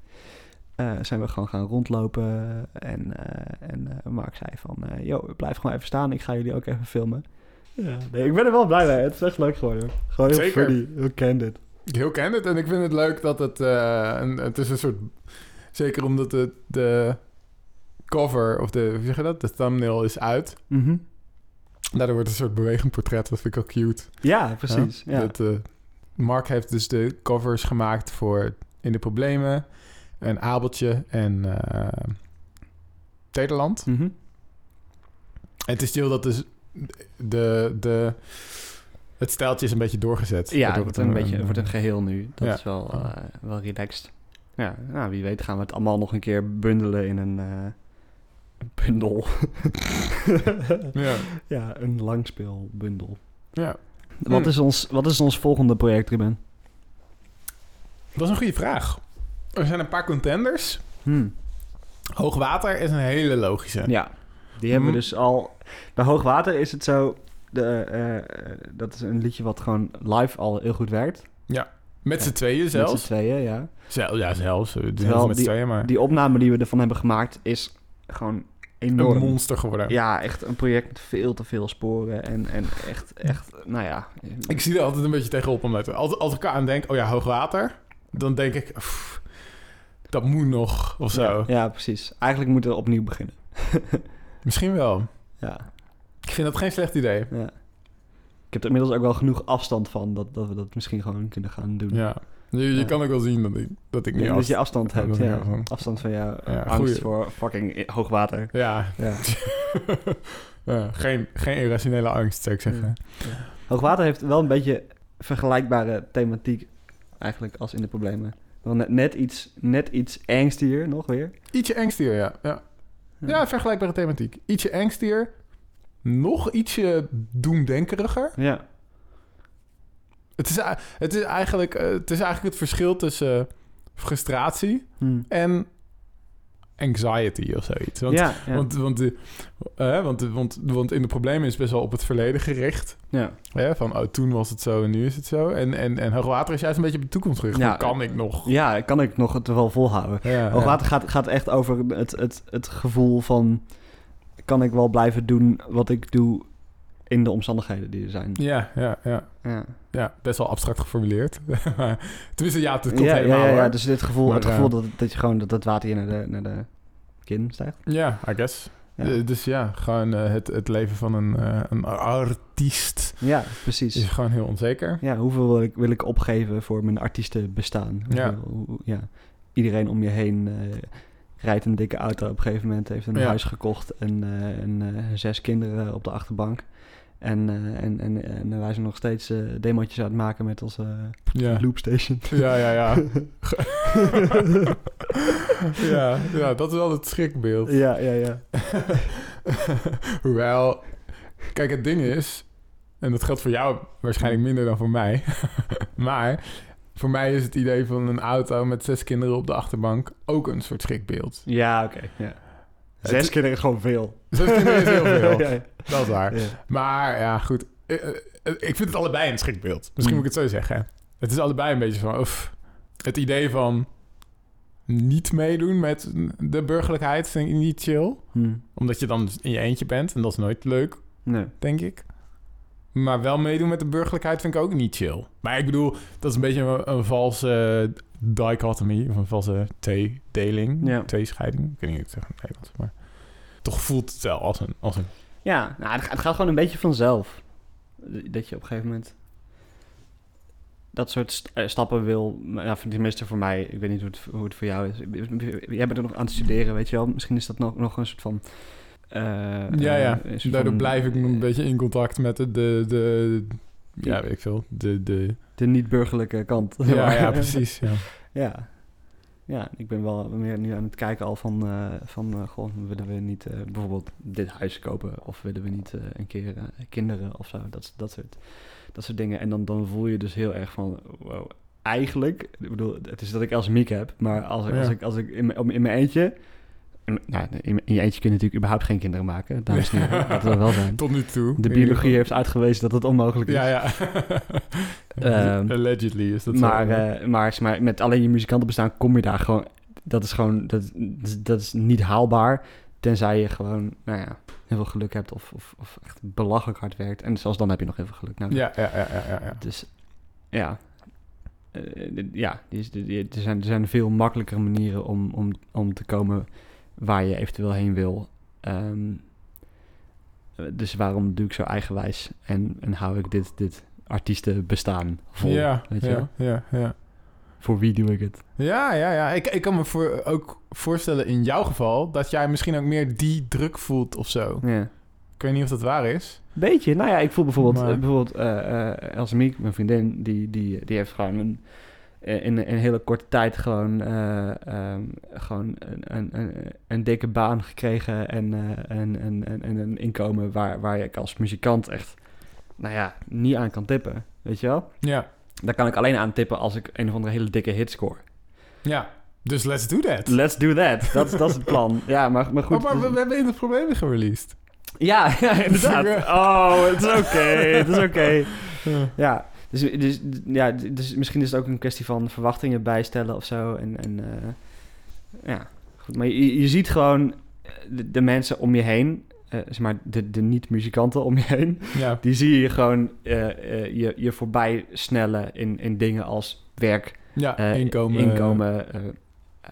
S1: Eh, zijn we gewoon gaan rondlopen. En, eh, en eh, Mark zei van... eh yo, blijf gewoon even staan. Ik ga jullie ook even filmen. Ja, nee, ik ben er wel blij mee. Het is echt leuk geworden. Gewoon heel
S2: Zeker.
S1: funny. Heel candid.
S2: Heel candid. En ik vind het leuk dat het... eh, een, het is een soort... Zeker omdat de, de cover of de... Hoe zeg je dat? De thumbnail is uit.
S1: Mhm.
S2: Daardoor wordt het een soort bewegend portret. Dat vind ik ook cute.
S1: Ja, precies.
S2: Ja.
S1: Ja.
S2: Dat, eh, Mark heeft dus de covers gemaakt voor In de Problemen. En Abeltje en... eh Nederland.
S1: Mhm.
S2: En het is chill dat dus de, de, het stijltje is een beetje doorgezet.
S1: Ja, het
S2: Waardoor eh,
S1: wordt een eh, beetje het wordt een geheel nu. Dat
S2: Ja.
S1: is wel, eh, wel relaxed. Ja, nou, wie weet gaan we het allemaal nog een keer bundelen in een eh (laughs) bundel.
S2: Ja,
S1: ja, een langspeelbundel.
S2: ja.
S1: Wat,
S2: Hmm.
S1: is ons, wat is ons volgende project, Ruben?
S2: Dat is een goede vraag. Er zijn een paar contenders.
S1: Hmm.
S2: Hoogwater is een hele logische.
S1: Ja, die hebben we
S2: Hmm.
S1: dus al... Bij Hoogwater is het zo... De, eh, eh, dat is een liedje wat gewoon live al heel goed werkt.
S2: Met z'n tweeën
S1: Met z'n
S2: zelfs.
S1: tweeën, ja.
S2: Zel, ja, zelfs. Het is
S1: Terwijl
S2: heel veel met z'n
S1: die-
S2: tweeën, maar
S1: Die opname die we ervan hebben gemaakt is gewoon
S2: een
S1: enorm.
S2: monster geworden.
S1: Ja, echt een project met veel te veel sporen. En, en echt, echt, nou ja.
S2: Ik zie er altijd een beetje tegenop om te als, als ik aan denk, oh ja, hoogwater. Dan denk ik, pff, dat moet nog, of zo.
S1: Ja, ja, precies. Eigenlijk moeten we opnieuw beginnen.
S2: Misschien wel.
S1: Ja,
S2: Ik vind dat geen slecht idee.
S1: ja. Ik heb er inmiddels ook wel genoeg afstand van dat, dat we dat misschien gewoon kunnen gaan doen.
S2: Ja. Je, je
S1: Ja.
S2: kan ook wel zien dat ik, dat ik nu
S1: Ja,
S2: af-
S1: dat je afstand hebt.
S2: Ja,
S1: Ja.
S2: dat- ja.
S1: Afstand van jou.
S2: Ja,
S1: angst
S2: goeie.
S1: voor fucking i- hoogwater.
S2: Ja, (laughs)
S1: Ja.
S2: Ja, geen, geen irrationele angst, zou ik zeggen.
S1: Hoogwater heeft wel een beetje vergelijkbare thematiek eigenlijk als in de problemen. Wel net, net iets, net iets angstier nog weer.
S2: Ietsje angstier, ja. ja.
S1: Ja.
S2: Ja, vergelijkbare thematiek. Ietsje angstier. Nog ietsje doemdenkeriger.
S1: Ja.
S2: Het is, a- het is, eigenlijk, eh, het is eigenlijk het verschil tussen frustratie
S1: Hm.
S2: en anxiety of zoiets. Want,
S1: ja, ja.
S2: want, want, de- eh, want, de- want, want in de problemen is best wel op het verleden gericht.
S1: ja.
S2: Hè? Van oh, toen was het zo en nu is het zo. En, en, en hoogwater is juist een beetje op de toekomst gericht.
S1: Ja.
S2: Hoe kan ik nog?
S1: ja, kan ik nog het wel volhouden.
S2: Ja,
S1: Hoogwater gaat, gaat echt over het, het, het gevoel van... kan ik wel blijven doen wat ik doe in de omstandigheden die er zijn.
S2: ja, ja, ja.
S1: Ja,
S2: Ja, best wel abstract geformuleerd. (laughs) Maar Tenminste, ja, het klopt
S1: ja, ja,
S2: helemaal.
S1: ja,
S2: hoor. Ja,
S1: dus dit gevoel,
S2: Maar,
S1: het gevoel
S2: eh,
S1: dat, dat je gewoon dat, dat water hier naar de, naar de kin stijgt.
S2: I guess.
S1: Ja.
S2: Eh, dus ja, gewoon eh, het, het leven van een, eh, een artiest
S1: Ja,
S2: is
S1: precies.
S2: gewoon heel onzeker.
S1: Ja, hoeveel wil ik, wil ik opgeven voor mijn artiestenbestaan?
S2: Ja.
S1: Hoeveel- hoe- hoe- ja. Iedereen om je heen eh, rijdt een dikke auto op een gegeven moment, heeft een
S2: Ja.
S1: huis gekocht en, eh, en eh, zes kinderen op de achterbank. En, eh, en, en, en wij zijn nog steeds eh demotjes aan het maken met onze
S2: Ja,
S1: loopstation.
S2: ja, ja. Ja. ja, ja, dat is wel het schrikbeeld.
S1: Ja, ja, ja.
S2: Hoewel, kijk, het ding is, en dat geldt voor jou waarschijnlijk minder dan voor mij, (laughs) maar voor mij is het idee van een auto met zes kinderen op de achterbank ook een soort schrikbeeld.
S1: Ja, oké. Ja. Zes
S2: Het-
S1: kinderen is gewoon veel.
S2: Zes kinderen is heel
S1: (laughs)
S2: veel,
S1: Ja, ja.
S2: dat is waar.
S1: Ja.
S2: Maar ja, goed, Eh, eh, eh, ik vind het allebei een schrikbeeld. Misschien
S1: Mm.
S2: moet ik het zo zeggen. Het is allebei een beetje van, oef, het idee van niet meedoen met de burgerlijkheid vind ik niet chill.
S1: Hm.
S2: Omdat je dan dus in je eentje bent en dat is nooit leuk.
S1: Nee.
S2: denk ik. Maar wel meedoen met de burgerlijkheid vind ik ook niet chill. Maar ik bedoel, dat is een beetje een, een valse dichotomie, of een valse tweedeling,
S1: Ja.
S2: tweescheiding. Ik weet niet hoe ik het zeg in het Nederlands, maar toch voelt het wel als een... Als een
S1: Ja, nou, het, ga- het gaat gewoon een beetje vanzelf. Dat je op een gegeven moment dat soort st- eh, stappen wil. maar Ja, tenminste voor mij. Ik weet niet hoe het, hoe het voor jou is. Jij bent er nog aan het studeren, weet je wel. Misschien is dat nog, nog een soort van... eh,
S2: ja, ja.
S1: een soort
S2: Daardoor
S1: van-
S2: blijf ik een beetje in contact met de... de, de ja,
S1: Ja.
S2: weet ik veel. De, de,
S1: De niet-burgerlijke kant.
S2: ja,
S1: (laughs)
S2: ja, precies. Ja.
S1: Ja. Ja, ik ben wel meer nu aan het kijken al van, eh, van eh, goh, willen we niet eh, bijvoorbeeld dit huis kopen of willen we niet eh, een keer eh, kinderen of zo, dat, s- dat, soort, dat soort dingen. En dan, dan voel je dus heel erg van, wow, eigenlijk, ik bedoel, het is dat ik als Miek heb, maar als,
S2: Ja.
S1: als ik, als ik in, mijn- om- in mijn eentje, in, mijn- nou, in, mijn- in je eentje kun je natuurlijk überhaupt geen kinderen maken, dames en
S2: (laughs)
S1: heren, dat wil wel zijn.
S2: Tot nu toe.
S1: De biologie heeft uitgewezen dat het onmogelijk is.
S2: Ja, ja.
S1: (laughs) Ehm,
S2: (laughs) Allegedly is dat
S1: maar,
S2: zo.
S1: eh, maar, maar met alleen je muzikantenbestaan kom je daar gewoon... Dat is gewoon... Dat, dat is niet haalbaar. Tenzij je gewoon, nou ja, heel veel geluk hebt of, of, of echt belachelijk hard werkt. En zelfs dan heb je nog heel veel geluk nodig.
S2: ja, ja, ja, ja, ja, ja.
S1: Dus ja... Eh, dit- ja, die is- die- die- er, zijn, er zijn veel makkelijkere manieren om, om, om te komen waar je eventueel heen wil. Ehm, eh, dus waarom doe ik zo eigenwijs en, en hou ik dit, dit artiestenbestaan vol?
S2: ja,
S1: weet je
S2: ja,
S1: wel?
S2: ja, ja.
S1: Voor wie doe ik het?
S2: Ja, ja, ja. Ik, ik kan me voor, ook voorstellen in jouw geval dat jij misschien ook meer die druk voelt of zo.
S1: Ja.
S2: Ik weet niet of dat waar is.
S1: Beetje. Nou ja, ik voel bijvoorbeeld,
S2: Maar-
S1: eh, bijvoorbeeld eh, eh, als Miek, mijn vriendin, die, die, die heeft gewoon een, eh, in, in een hele korte tijd gewoon, eh, ehm, gewoon een, een, een, een dikke baan gekregen en, eh, en, en, en, en een inkomen waar, waar ik als muzikant echt, nou ja, niet aan kan tippen. Weet je wel?
S2: Ja,
S1: Daar kan ik alleen aan tippen als ik een of andere hele dikke hit score.
S2: ja. Dus let's do that.
S1: Let's do that. Dat, is- dat is het plan. Ja, maar, maar goed.
S2: Oh, maar we, we hebben in de problemen gereleased.
S1: Ja, (laughs) ja, inderdaad. Oh, het is oké. Het is oké. Ja, dus, dus, ja, dus misschien is het ook een kwestie van verwachtingen bijstellen of zo. En, en eh, ja, goed. Maar je, je ziet gewoon eh, de, de mensen om je heen, eh, zeg maar de, de niet-muzikanten om je heen,
S2: Ja,
S1: die zie je gewoon eh, eh, je, je voorbij snellen in, in dingen als werk,
S2: ja
S1: eh,
S2: inkomen.
S1: inkomen, eh,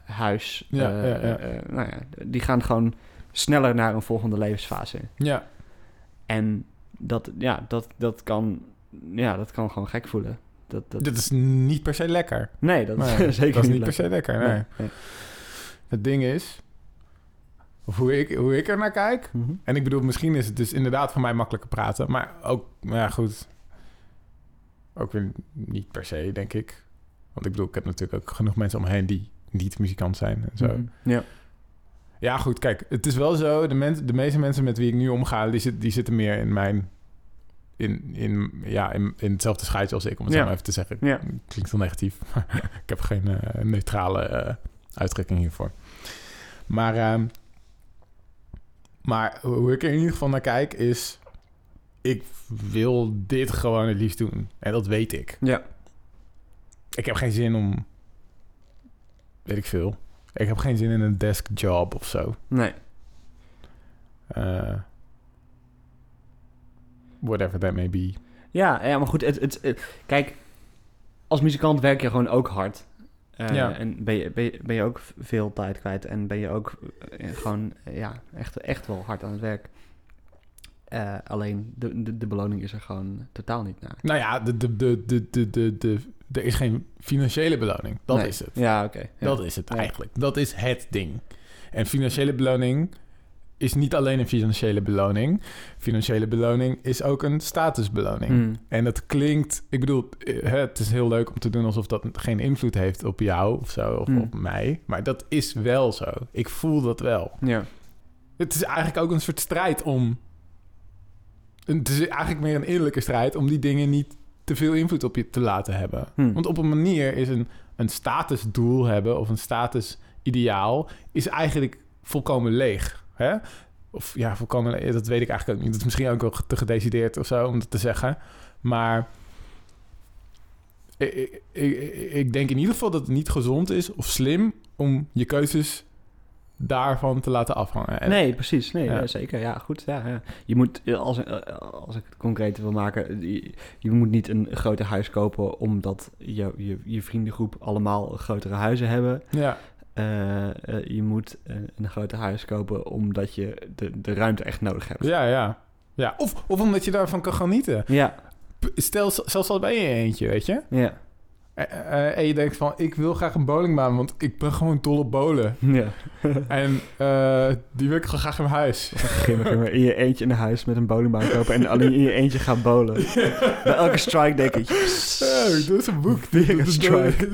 S1: huis.
S2: Ja,
S1: eh,
S2: ja, ja.
S1: eh, nou ja, die gaan gewoon sneller naar een volgende levensfase.
S2: Ja,
S1: En dat, ja, dat, dat, kan, ja, dat kan gewoon gek voelen. Dat, dat,
S2: dat is niet per se
S1: (laughs)
S2: lekker.
S1: nee, dat is
S2: Nee,
S1: zeker
S2: dat is
S1: niet
S2: niet per
S1: leuk.
S2: se lekker. Nee.
S1: Nee,
S2: Het ding is, of hoe ik, hoe ik er naar kijk,
S1: nee. Mhm.
S2: En ik bedoel, misschien is het dus inderdaad voor mij makkelijker praten. Maar ook, nou ja, goed. Ook weer niet per se, denk ik. Want ik bedoel, ik heb natuurlijk ook genoeg mensen om me heen die niet muzikant zijn en zo.
S1: Mhm. Ja.
S2: Ja, goed, kijk. Het is wel zo, de, mens, de meeste mensen met wie ik nu omga, die, zit, die zitten meer in mijn... In, in, ja, in, in hetzelfde schuitje als ik, om het
S1: Ja.
S2: zo maar even te zeggen.
S1: Ja.
S2: (laughs) Klinkt wel negatief, maar ik heb geen eh, neutrale eh, uitdrukking hiervoor. Maar, ehm, maar hoe ik er in ieder geval naar kijk is... Ik wil dit gewoon het liefst doen. En dat weet ik.
S1: Ja.
S2: Ik heb geen zin om... Weet ik veel. Ik heb geen zin in een deskjob of zo.
S1: Nee.
S2: Eh, whatever that may be.
S1: Ja, ja maar goed, het, het, eh, kijk, als muzikant werk je gewoon ook hard. Eh,
S2: Ja.
S1: En ben je, ben, je, ben je ook veel tijd kwijt en ben je ook eh, gewoon eh, ja, echt, echt wel hard aan het werk. Eh, alleen de, de, de beloning is er gewoon totaal niet naar.
S2: Nou ja, de, de, de, de, de, de, de- er is geen financiële beloning. Dat
S1: Nee.
S2: is het.
S1: Ja, oké. ja.
S2: Dat is het
S1: Ja.
S2: eigenlijk. Dat is het ding. En financiële beloning is niet alleen een financiële beloning. Financiële beloning is ook een statusbeloning.
S1: Hmm.
S2: En dat klinkt, ik bedoel, eh, hè, het is heel leuk om te doen alsof dat geen invloed heeft op jou of zo, of
S1: Hmm.
S2: op mij. Maar dat is wel zo. Ik voel dat wel.
S1: Ja.
S2: Het is eigenlijk ook een soort strijd om. Het is eigenlijk meer een innerlijke strijd om die dingen niet te veel invloed op je te laten hebben.
S1: Hmm.
S2: Want op een manier is een, een statusdoel hebben of een statusideaal is eigenlijk volkomen leeg. Hè? Of ja, volkomen leeg, dat weet ik eigenlijk ook niet. Dat is misschien ook wel te gedecideerd of zo om dat te zeggen. Maar ik, ik, ik- ik denk in ieder geval dat het niet gezond is of slim om je keuzes daarvan te laten afhangen. En-
S1: Nee, precies. Nee,
S2: Ja.
S1: ja, zeker. Ja, goed. Ja, ja. Je moet, eh, als, eh, als ik het concreet wil maken, eh, je, je moet niet een groter huis kopen omdat je, je, je vriendengroep allemaal grotere huizen hebben.
S2: Ja.
S1: Eh, eh, je moet eh, een groter huis kopen omdat je de, de ruimte echt nodig hebt.
S2: Ja, ja. ja. Of, of omdat je daarvan kan genieten.
S1: Ja,
S2: P- Stel, z- zelfs al ben je in je eentje, weet je.
S1: ja,
S2: Eh, eh, en je denkt van, ik wil graag een bowlingbaan, want ik ben gewoon dol op
S1: (laughs)
S2: bowlen.
S1: ja.
S2: En eh, die wil ik gewoon graag in mijn huis.
S1: Geen maar in je eentje een huis met een bowlingbaan kopen en alleen in je eentje gaan bowlen. (laughs) Bij elke strike denk ik, yes.
S2: Oh, er is een boek.
S1: Weer een
S2: (laughs) Er is-
S1: strike.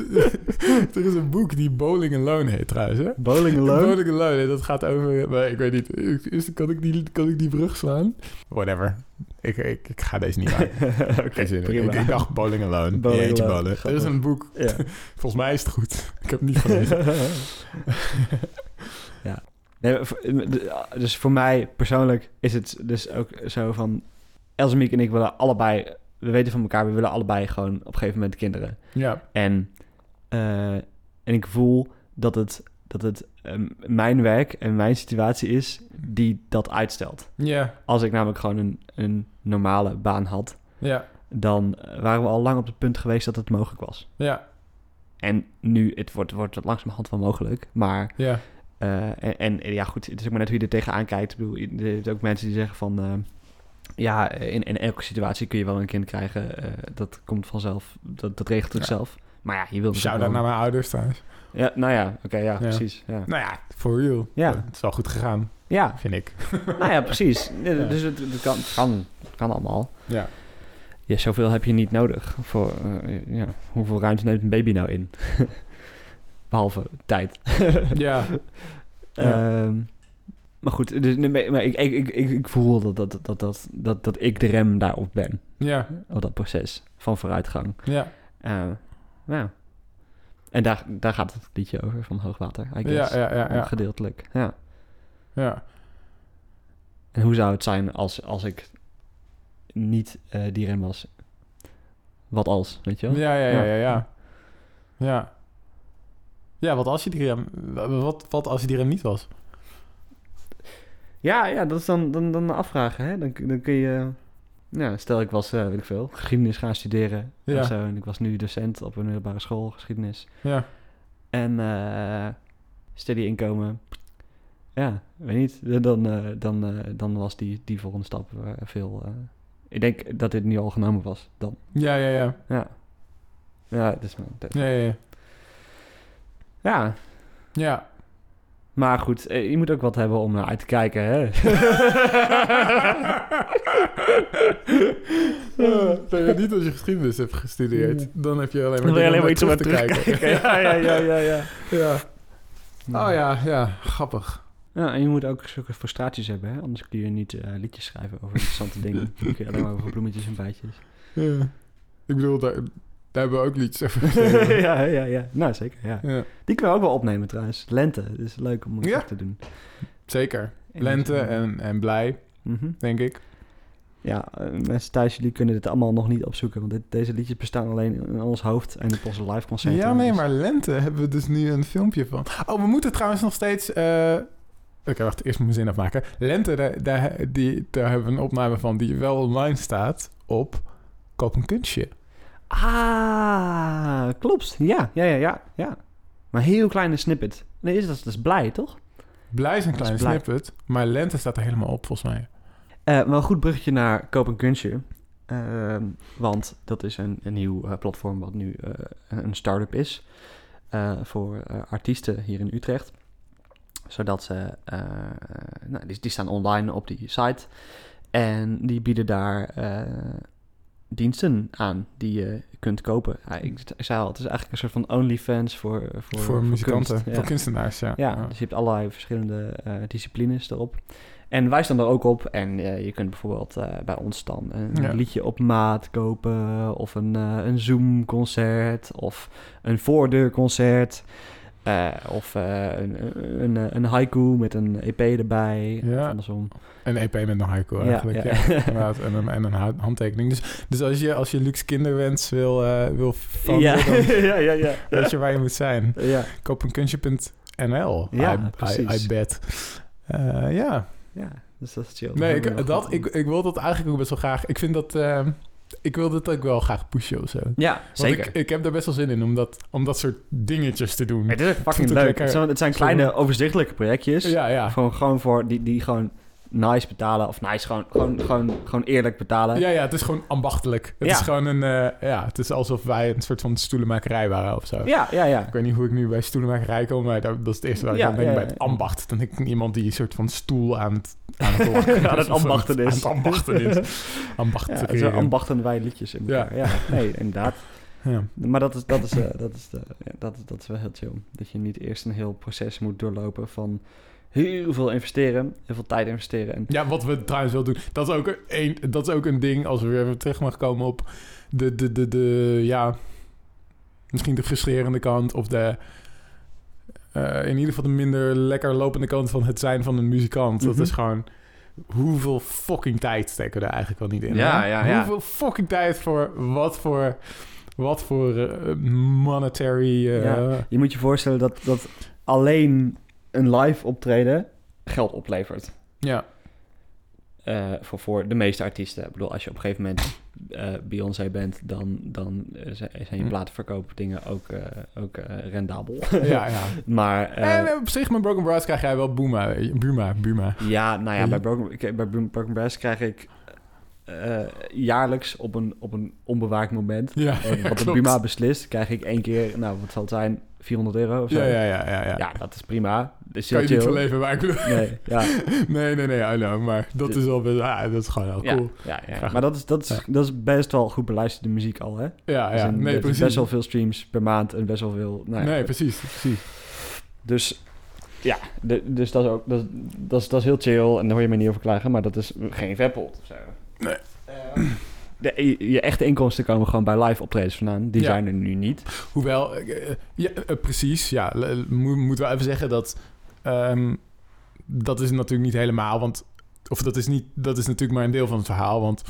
S2: er is een boek die Bowling Alone heet trouwens, hè.
S1: bowling alone?
S2: Bowling Alone, hè, dat gaat over... Maar ik weet niet, is, kan, ik die, kan ik die brug slaan? Whatever. Ik, ik, ik ga deze niet aan.
S1: (laughs) Oké,
S2: Geen zin in.
S1: prima.
S2: Ik, ik dacht Bowling Alone.
S1: Bowling
S2: Bowling eentje
S1: Alone,
S2: bowlen. Er
S1: grappig.
S2: is een boek
S1: Ja.
S2: Volgens mij is het goed. Ik heb het niet
S1: (laughs)
S2: gelezen.
S1: ja. Nee, maar voor- de- dus voor mij persoonlijk is het dus ook zo van... Els en Miek en ik willen allebei... We weten van elkaar, we willen allebei gewoon op een gegeven moment kinderen.
S2: ja.
S1: En, eh, en ik voel dat het, dat het ehm, mijn werk en mijn situatie is die dat uitstelt.
S2: Ja.
S1: Als ik namelijk gewoon een, een normale baan had...
S2: Ja.
S1: dan eh, waren we al lang op het punt geweest dat het mogelijk was.
S2: Ja.
S1: En nu, het wordt, wordt het langzamerhand wel mogelijk, maar...
S2: Ja.
S1: Eh, en, en ja, goed, het is ook maar net hoe je er tegenaan kijkt. Ik bedoel, je- er zijn ook mensen die zeggen van... eh, ja, eh, in, in elke situatie kun je wel een kind krijgen. eh, dat komt vanzelf. Dat, dat regelt het
S2: Ja.
S1: zelf. Maar ja, je wilt
S2: Shout out
S1: natuurlijk
S2: naar mijn ouders trouwens.
S1: wel- ja, Nou ja, oké, ja, precies. Ja,
S2: Nou ja, for real.
S1: Ja.
S2: Het is wel goed gegaan,
S1: ja
S2: vind
S1: (laughs)
S2: ik.
S1: nou ja, precies. Eh, Dus het, het kan, het kan, het kan allemaal.
S2: Ja.
S1: Ja, zoveel heb je niet nodig. Voor, eh, ja, hoeveel ruimte neemt een baby nou in? (laughs) Behalve tijd. (laughs)
S2: Ja. Ja.
S1: Ehm, maar goed, dus, nee, maar ik, ik, ik, ik, ik voel dat, dat, dat, dat, dat, dat ik de rem daarop ben.
S2: Ja.
S1: Op dat proces van vooruitgang.
S2: Ja.
S1: Eh, nou. En daar, daar gaat het liedje over van Hoogwater, I
S2: Ja.
S1: guess.
S2: Ja. Ja. Ja.
S1: Gedeeltelijk, ja.
S2: Ja.
S1: En hoe zou het zijn als, als ik niet eh, die rem was? Wat als, weet je wel?
S2: Ja. Ja. Ja. Ja. Ja. Ja. Ja, wat als je die rem... Wat, wat als je die rem niet was?
S1: Ja, ja, dat is dan, dan, dan afvragen, hè? Dan, dan kun je... Nou, stel ik was, eh weet ik veel, geschiedenis gaan studeren
S2: Ja.
S1: of zo. En ik was nu docent op een middelbare school, geschiedenis.
S2: Ja.
S1: En eh steady inkomen. Ja, weet niet. Dan, eh, dan, eh, dan was die, die volgende stap eh, veel... eh, ik denk dat dit nu al genomen was, dan.
S2: Ja. Ja. Ja.
S1: Ja. Ja, dat is mijn... dat-
S2: Ja. Ja. Ja.
S1: Ja,
S2: ja.
S1: maar goed. eh, je moet ook wat hebben om naar uit te kijken, hè?
S2: Nou ja, niet als je geschiedenis hebt gestudeerd. Dan heb je alleen maar,
S1: Dan wil je alleen maar iets om
S2: dingen
S1: naar
S2: om
S1: terug
S2: naar
S1: te
S2: terug
S1: kijken. (laughs) ja, ja, ja, ja, ja.
S2: (laughs) Ja. Oh ja, ja, grappig.
S1: Ja, en je moet ook zulke frustraties hebben, hè? anders kun je niet eh, liedjes (laughs) schrijven over interessante dingen. Dan kun je alleen maar over bloemetjes en bijtjes.
S2: Ja. Ik bedoel, daar, Daar hebben we ook liedjes
S1: (laughs)
S2: over
S1: (laughs)
S2: geschreven.
S1: ja, ja, ja. Nou, zeker, ja.
S2: ja,
S1: Die kunnen we ook wel opnemen trouwens. Lente, dus leuk om het
S2: Ja.
S1: ook te doen.
S2: zeker. Lente en, en blij,
S1: Mhm.
S2: denk ik.
S1: Ja, eh, mensen thuis, jullie kunnen dit allemaal nog niet opzoeken. Want dit, deze liedjes bestaan alleen in ons hoofd en op onze live concerten.
S2: Ja, nee,
S1: Dus-
S2: maar lente hebben we dus nu een filmpje van. Oh, we moeten trouwens nog steeds... eh, Oké, wacht, eerst moet ik mijn zin afmaken. Lente, daar, daar, die, daar hebben we een opname van die wel online staat op Koop een Kunstje.
S1: Ah, klopt. Ja, ja, ja, ja. ja. Maar heel kleine snippet. Nee, is dat, dat is blij, toch?
S2: Blij is een kleine
S1: blij.
S2: snippet, maar lente staat er helemaal op volgens mij.
S1: Eh, maar een goed bruggetje naar Koop een Kunstje. Ehm, want dat is een, een nieuw eh, platform wat nu eh, een een start-up is. eh, voor eh, artiesten hier in Utrecht. Zodat ze... eh, nou, die, die staan online op die site. En die bieden daar eh, diensten aan die je kunt kopen. Ja, ik, ik zei al, het is eigenlijk een soort van OnlyFans voor, voor,
S2: Voor,
S1: kunst.
S2: muzikanten,
S1: Ja.
S2: voor kunstenaars, ja. Oh.
S1: Ja, dus je hebt allerlei verschillende eh, disciplines erop. En wij staan er ook op. En eh, je kunt bijvoorbeeld eh, bij ons dan een
S2: Ja.
S1: liedje op maat kopen. Of een, eh, een Zoom-concert. Of een voordeurconcert. eh, of eh, een, een, een, een haiku met een EP erbij.
S2: Ja.
S1: Of andersom.
S2: Een E EP met een haiku eigenlijk, ja. Inderdaad, en een, en een ha- handtekening. Dus, dus als, je, als je luxe kinderwens wil, eh wil van
S1: ja. (laughs)
S2: dan
S1: ja, ja, ja.
S2: weet je waar je moet zijn.
S1: Ja.
S2: Koop een kunstje.nl.
S1: Ja,
S2: I, I,
S1: precies.
S2: I bet. Eh, ja,
S1: ja, dus dat is chill.
S2: nee,
S1: Daar hebben we nog
S2: ik, dat,
S1: wat
S2: ik,
S1: aan.
S2: ik wil dat eigenlijk ook best wel graag. Ik vind dat, eh, ik wil dat ook wel graag pushen of zo. Want
S1: Ja, zeker.
S2: Ik, ik heb daar best wel zin in om dat, om dat soort dingetjes te doen.
S1: Het is ook fucking
S2: het
S1: leuk.
S2: lekker.
S1: Het zijn, het zijn kleine, overzichtelijke projectjes.
S2: Ja, ja.
S1: Gewoon, gewoon voor die, die gewoon nice betalen. Of nice, gewoon, gewoon, gewoon, gewoon eerlijk betalen.
S2: Ja, ja, het is gewoon ambachtelijk. Het
S1: Ja.
S2: is gewoon een, eh, ja, het is alsof wij een soort van stoelenmakerij waren of zo.
S1: ja, ja. ja.
S2: Ik weet niet hoe ik nu bij stoelenmakerij kom, maar dat, dat is het eerste waar ik
S1: Ja,
S2: aan denk
S1: ja,
S2: bij
S1: ja.
S2: het ambacht. Dan denk ik aan iemand die een soort van stoel aan het, aan
S1: (laughs)
S2: het, lakken
S1: Aan het
S2: Of aan
S1: ambachten is.
S2: Aan het ambachten
S1: (laughs)
S2: is. Ambacht
S1: Ja,
S2: te
S1: het zijn
S2: creëren.
S1: ambachten wij liedjes in
S2: Ja.
S1: elkaar. Ja. nee, inderdaad.
S2: Ja.
S1: Maar dat is, dat, is, eh, dat, is de, ja, dat, is- dat is wel heel chill. Dat je niet eerst een heel proces moet doorlopen van heel veel investeren, heel veel tijd investeren. En,
S2: Ja, wat we trouwens wel doen. Dat is ook een, dat is ook een ding, als we weer even terug mag komen op de, de, de, de ja, misschien de frustrerende kant of de, eh, in ieder geval de minder lekker lopende kant van het zijn van een muzikant.
S1: Mhm.
S2: Dat is gewoon, hoeveel fucking tijd steken we er eigenlijk wel niet in.
S1: Ja,
S2: hè?
S1: ja, ja.
S2: Hoeveel fucking tijd voor wat voor, wat voor eh, monetary... eh,
S1: Ja. je moet je voorstellen dat, dat alleen een live optreden geld oplevert.
S2: ja.
S1: eh, voor, voor de meeste artiesten. Ik bedoel, als je op een gegeven moment eh, Beyoncé bent, dan, dan eh, zijn zijn je
S2: Hm.
S1: platenverkoopdingen ook, eh, ook eh, rendabel.
S2: ja, ja.
S1: (laughs) maar eh,
S2: en op zich, met Broken Brass krijg jij wel Buma. Buma, Buma.
S1: ja, nou ja,
S2: Ja.
S1: bij Broken, ik- bij Bro- Broken Brass krijg ik eh, jaarlijks op een, op een onbewaakt moment,
S2: (laughs) Ja,
S1: eh, wat de
S2: klopt.
S1: Buma beslist, krijg ik één keer, nou wat zal het zijn, 400 euro of zo.
S2: Ja, ja, ja, ja. ja.
S1: Ja, dat is prima. Dat is
S2: kan
S1: heel
S2: je niet
S1: chill.
S2: verleven, maar ik bedoel... (laughs)
S1: Nee, ja.
S2: Nee, nee, nee, I know, maar dat
S1: Dit-
S2: is wel best... Ah, dat is gewoon heel cool.
S1: Ja, ja, ja.
S2: Graag.
S1: Maar dat is, dat, is, dat is best wel goed beluisterde muziek al, hè?
S2: Ja, Ah ja,
S1: Er zijn-
S2: nee,
S1: er zijn
S2: precies.
S1: best wel veel streams per maand en best wel veel. Nou ja,
S2: Nee, precies, precies.
S1: Dus ja, de- dus dat is ook dat, is- dat, is, dat is heel chill en daar hoor je me niet over klagen, maar dat is geen vetpot of zo. Eh,
S2: Nee.
S1: De, je, je echte inkomsten komen gewoon bij live optredens vandaan. Die
S2: Ja.
S1: zijn er nu niet.
S2: Hoewel, eh, eh, ja, eh, precies, ja. l- l- Mo moeten we even zeggen dat... ehm, dat is natuurlijk niet helemaal, want... Of dat is, niet, dat is natuurlijk maar een deel van het verhaal, want...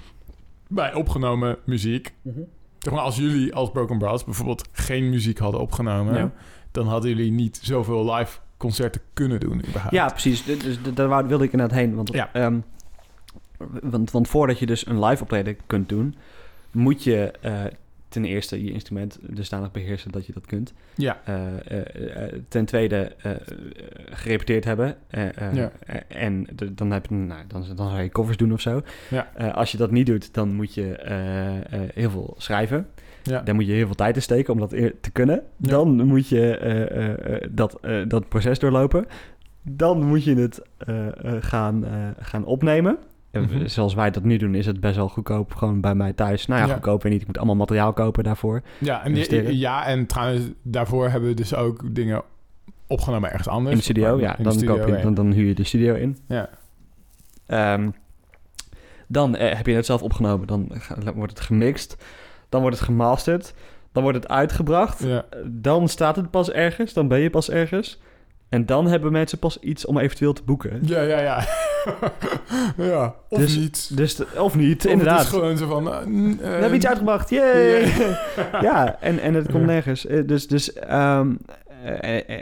S2: Bij opgenomen muziek... Zeg maar, als jullie als Broken Brass bijvoorbeeld geen muziek hadden opgenomen...
S1: Ja.
S2: dan hadden jullie niet zoveel live concerten kunnen doen, überhaupt.
S1: Ja, precies. Dus, dus daar wou- wilde ik inderdaad heen. Want,
S2: Ja.
S1: ehm, want, want voordat je dus een live optreden kunt doen, moet je eh, ten eerste je instrument dusdanig beheersen dat je dat kunt.
S2: Ja.
S1: Eh, eh, eh, ten tweede eh, eh, gerepeteerd hebben. Eh, eh,
S2: Ja.
S1: eh, en de- dan, heb je, nou, dan, dan ga je covers doen of zo.
S2: Ja.
S1: Eh, als je dat niet doet, dan moet je eh, eh, heel veel schrijven.
S2: Ja.
S1: Daar moet je heel veel tijd in steken om dat eer- te kunnen.
S2: Ja.
S1: Dan moet je eh, eh, eh, dat, eh, dat proces doorlopen. Dan moet je het eh, eh, gaan, eh, gaan opnemen. En we-
S2: Mhm.
S1: Zoals wij dat nu doen, is het best wel goedkoop. Gewoon bij mij thuis. Nou ja,
S2: Ja.
S1: goedkoop en niet. Ik moet allemaal materiaal kopen daarvoor.
S2: Ja, en,
S1: Investeren.
S2: ja, en trouwens, daarvoor hebben we dus ook dingen opgenomen ergens anders.
S1: in de studio,
S2: Maar-
S1: ja.
S2: in de
S1: Dan,
S2: studio,
S1: koop je,
S2: ja.
S1: dan, dan huur je de studio in.
S2: Ja.
S1: Ehm, dan eh, heb je het zelf opgenomen. Dan ga- wordt het gemixt. Dan wordt het gemasterd. Dan wordt het uitgebracht. Eh,
S2: Ja.
S1: Dan staat het pas ergens. Dan ben je pas ergens. En dan hebben mensen pas iets om eventueel te boeken.
S2: Ja, ja, ja. (laughs) ja, of
S1: Dus-
S2: niet.
S1: Dus de- of niet,
S2: Of
S1: inderdaad.
S2: Het is gewoon zo van... eh, n-
S1: We hebben iets
S2: eh,
S1: uitgebracht, yay!
S2: Ja. (laughs)
S1: ja, en, en het komt
S2: Ja.
S1: nergens. Eh, Dus, dus ehm, eh, eh, eh,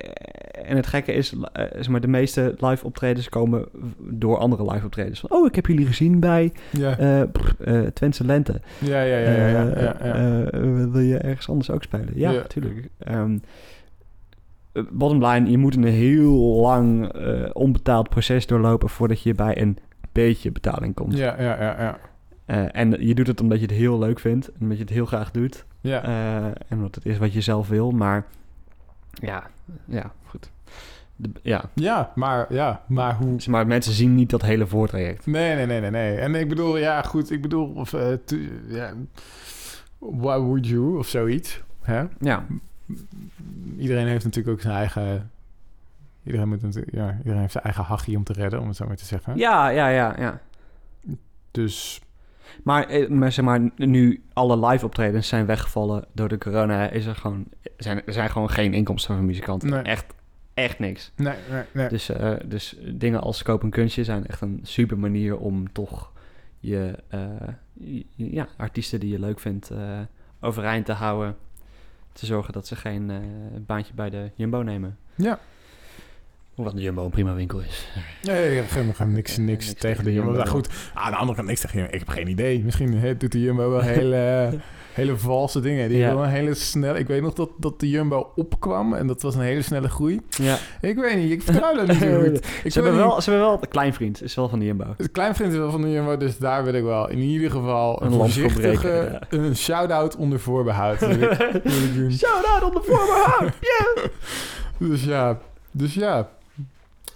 S1: en het gekke is, eh, zeg maar, de meeste live optredens komen door andere live optredens. Van, oh, ik heb jullie gezien bij
S2: Ja,
S1: eh pff, eh, Twentse Lente.
S2: ja, ja, ja, ja, ja, ja,
S1: Eh,
S2: ja.
S1: eh, eh, wil je ergens anders ook spelen? Ja,
S2: Ja.
S1: natuurlijk. Ehm, eh, bottom line, je moet een heel lang eh, onbetaald proces doorlopen voordat je bij een beetje betaling komt.
S2: Ja, ja, ja, ja.
S1: Eh, en je doet het omdat je het heel leuk vindt en omdat je het heel graag doet.
S2: Ja,
S1: Eh, en omdat het is wat je zelf wil, maar ja, ja, goed. De, ja,
S2: ja, maar, ja, maar hoe...
S1: Zeg maar mensen zien niet dat hele voortraject.
S2: Nee, nee, nee, nee, nee. En ik bedoel, ja, goed, ik bedoel... Of, eh, tu- ja, why would you? Of zoiets. Hè?
S1: Ja,
S2: Iedereen heeft natuurlijk ook zijn eigen... Iedereen, moet natuurlijk, ja, iedereen heeft zijn eigen hachie om te redden, om het zo maar te zeggen.
S1: ja, ja, ja. ja.
S2: Dus
S1: Maar, eh, maar zeg maar, nu alle live optredens zijn weggevallen door de corona, is er gewoon, zijn, er zijn gewoon geen inkomsten van muzikanten.
S2: Nee.
S1: Echt, echt niks.
S2: nee, nee, nee.
S1: Dus, eh, dus dingen als koop en kunstje zijn echt een super manier om toch je eh, je- ja, artiesten die je leuk vindt eh, overeind te houden. Te zorgen dat ze geen eh, baantje bij de Jumbo nemen.
S2: Ja.
S1: Hoewel de Jumbo een prima winkel is.
S2: Nee, ik heb geen, geen- niks,
S1: Nee,
S2: niks tegen de Jumbo. Maar goed, aan de andere kant niks tegen de Jumbo. Ik heb geen idee. Misschien hè, doet de Jumbo wel hele, hele valse dingen. Die
S1: Ja.
S2: wil een hele snelle... Ik weet nog dat, dat de Jumbo opkwam en dat was een hele snelle groei.
S1: Ja.
S2: Ik weet niet, ik vertrouw
S1: (laughs)
S2: dat niet zo goed. Ik
S1: ze,
S2: weet
S1: hebben
S2: niet.
S1: wel, ze hebben wel... Kleinvriend is wel van de
S2: (laughs)
S1: Jumbo. (laughs)
S2: Het kleinvriend is wel van de Jumbo, dus daar wil ik wel in ieder geval een,
S1: Een lamp
S2: voorzichtige...
S1: verbreken,
S2: Een shout-out onder voorbehoud wil
S1: (laughs)
S2: ik, wil ik doen.
S1: Shout-out on the voorbehoud!
S2: Dus ja, dus ja.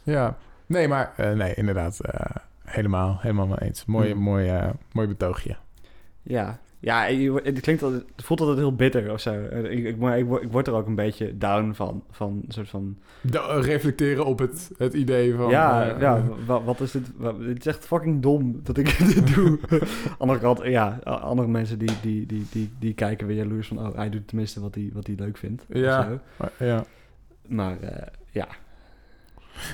S2: Ja. Nee, maar eh, nee, inderdaad. eh, helemaal, helemaal mee eens. Mooi,
S1: Hmm.
S2: mooi, eh, mooi betoogje.
S1: Ja, ja je wordt- het, klinkt altijd, het voelt altijd heel bitter of zo. Eh, Ik, ik, maar ik, word- ik word er ook een beetje down van. Van een soort van...
S2: De- eh, reflecteren op het, het idee van...
S1: ja,
S2: eh,
S1: ja wa- wat is dit? Wa- Het is echt fucking dom dat ik (laughs) dit doe. andere kant, ja, a- andere mensen die, die, die, die, die kijken weer jaloers van... oh, hij doet tenminste wat hij, wat hij leuk vindt. of
S2: Ja.
S1: zo.
S2: ja.
S1: Maar eh, ja,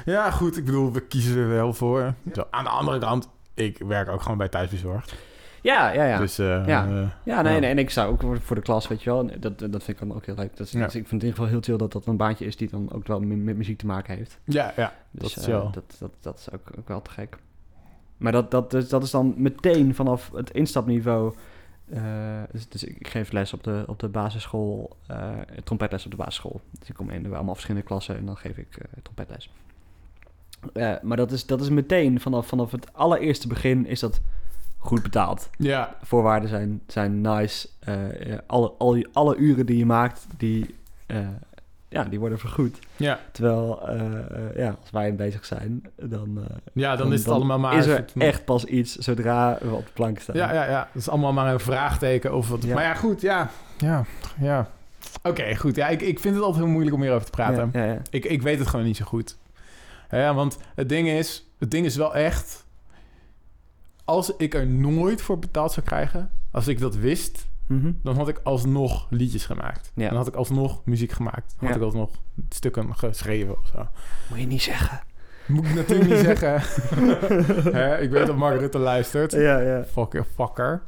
S2: ja, goed. Ik bedoel, we kiezen er wel voor. Zo, aan de andere kant, ik werk ook gewoon bij thuisbezorgd.
S1: ja, ja, ja.
S2: Dus eh,
S1: Ja.
S2: eh,
S1: ja, nee,
S2: ja.
S1: nee, en ik zou ook voor- voor de klas, weet je wel... en Dat, dat vind ik dan ook heel leuk. Dat is,
S2: Ja.
S1: dus ik vind het in ieder geval heel chill dat dat een baantje is... die dan ook wel mi- met muziek te maken heeft.
S2: ja, ja.
S1: Dus
S2: Dat is
S1: eh,
S2: wel-
S1: dat, dat, dat is ook, ook wel te gek. Maar dat, dat, is- dat is dan meteen vanaf het instapniveau. eh, dus, dus ik geef les op de, op de basisschool, eh, trompetles op de basisschool. Dus ik kom in allemaal verschillende klassen en dan geef ik eh, trompetles. Eh, maar dat is, dat is meteen vanaf, vanaf het allereerste begin is dat goed betaald.
S2: Ja,
S1: Voorwaarden zijn, zijn nice. Eh, eh, alle, alle, alle uren die je maakt, die, eh, ja, die worden vergoed.
S2: ja.
S1: Terwijl, eh, eh, ja, als wij bezig zijn, dan, eh,
S2: ja dan,
S1: Dan-
S2: is het
S1: dan
S2: allemaal maar...
S1: is
S2: een
S1: er
S2: soort van-
S1: echt pas iets zodra we op de plank staan.
S2: Ja, ja, ja. Dat is allemaal maar een vraagteken. Of wat.
S1: Ja.
S2: Maar ja, goed. Ja, ja, ja. Oké, goed. Ja, ik, ik vind het altijd heel moeilijk om hierover te praten.
S1: Ja, ja, ja.
S2: Ik, ik weet het gewoon niet zo goed. Ja, want het ding is, het ding is wel echt. Als ik er nooit voor betaald zou krijgen, als ik dat wist,
S1: Mhm.
S2: dan had ik alsnog liedjes gemaakt.
S1: Ja.
S2: Dan had ik alsnog muziek gemaakt. Dan had
S1: Ja.
S2: ik alsnog stukken geschreven of zo.
S1: Moet je niet zeggen.
S2: Moet ik natuurlijk niet
S1: (laughs)
S2: zeggen. Hè, ik weet dat Mark Rutte luistert.
S1: Ja, ja.
S2: Fucking fucker.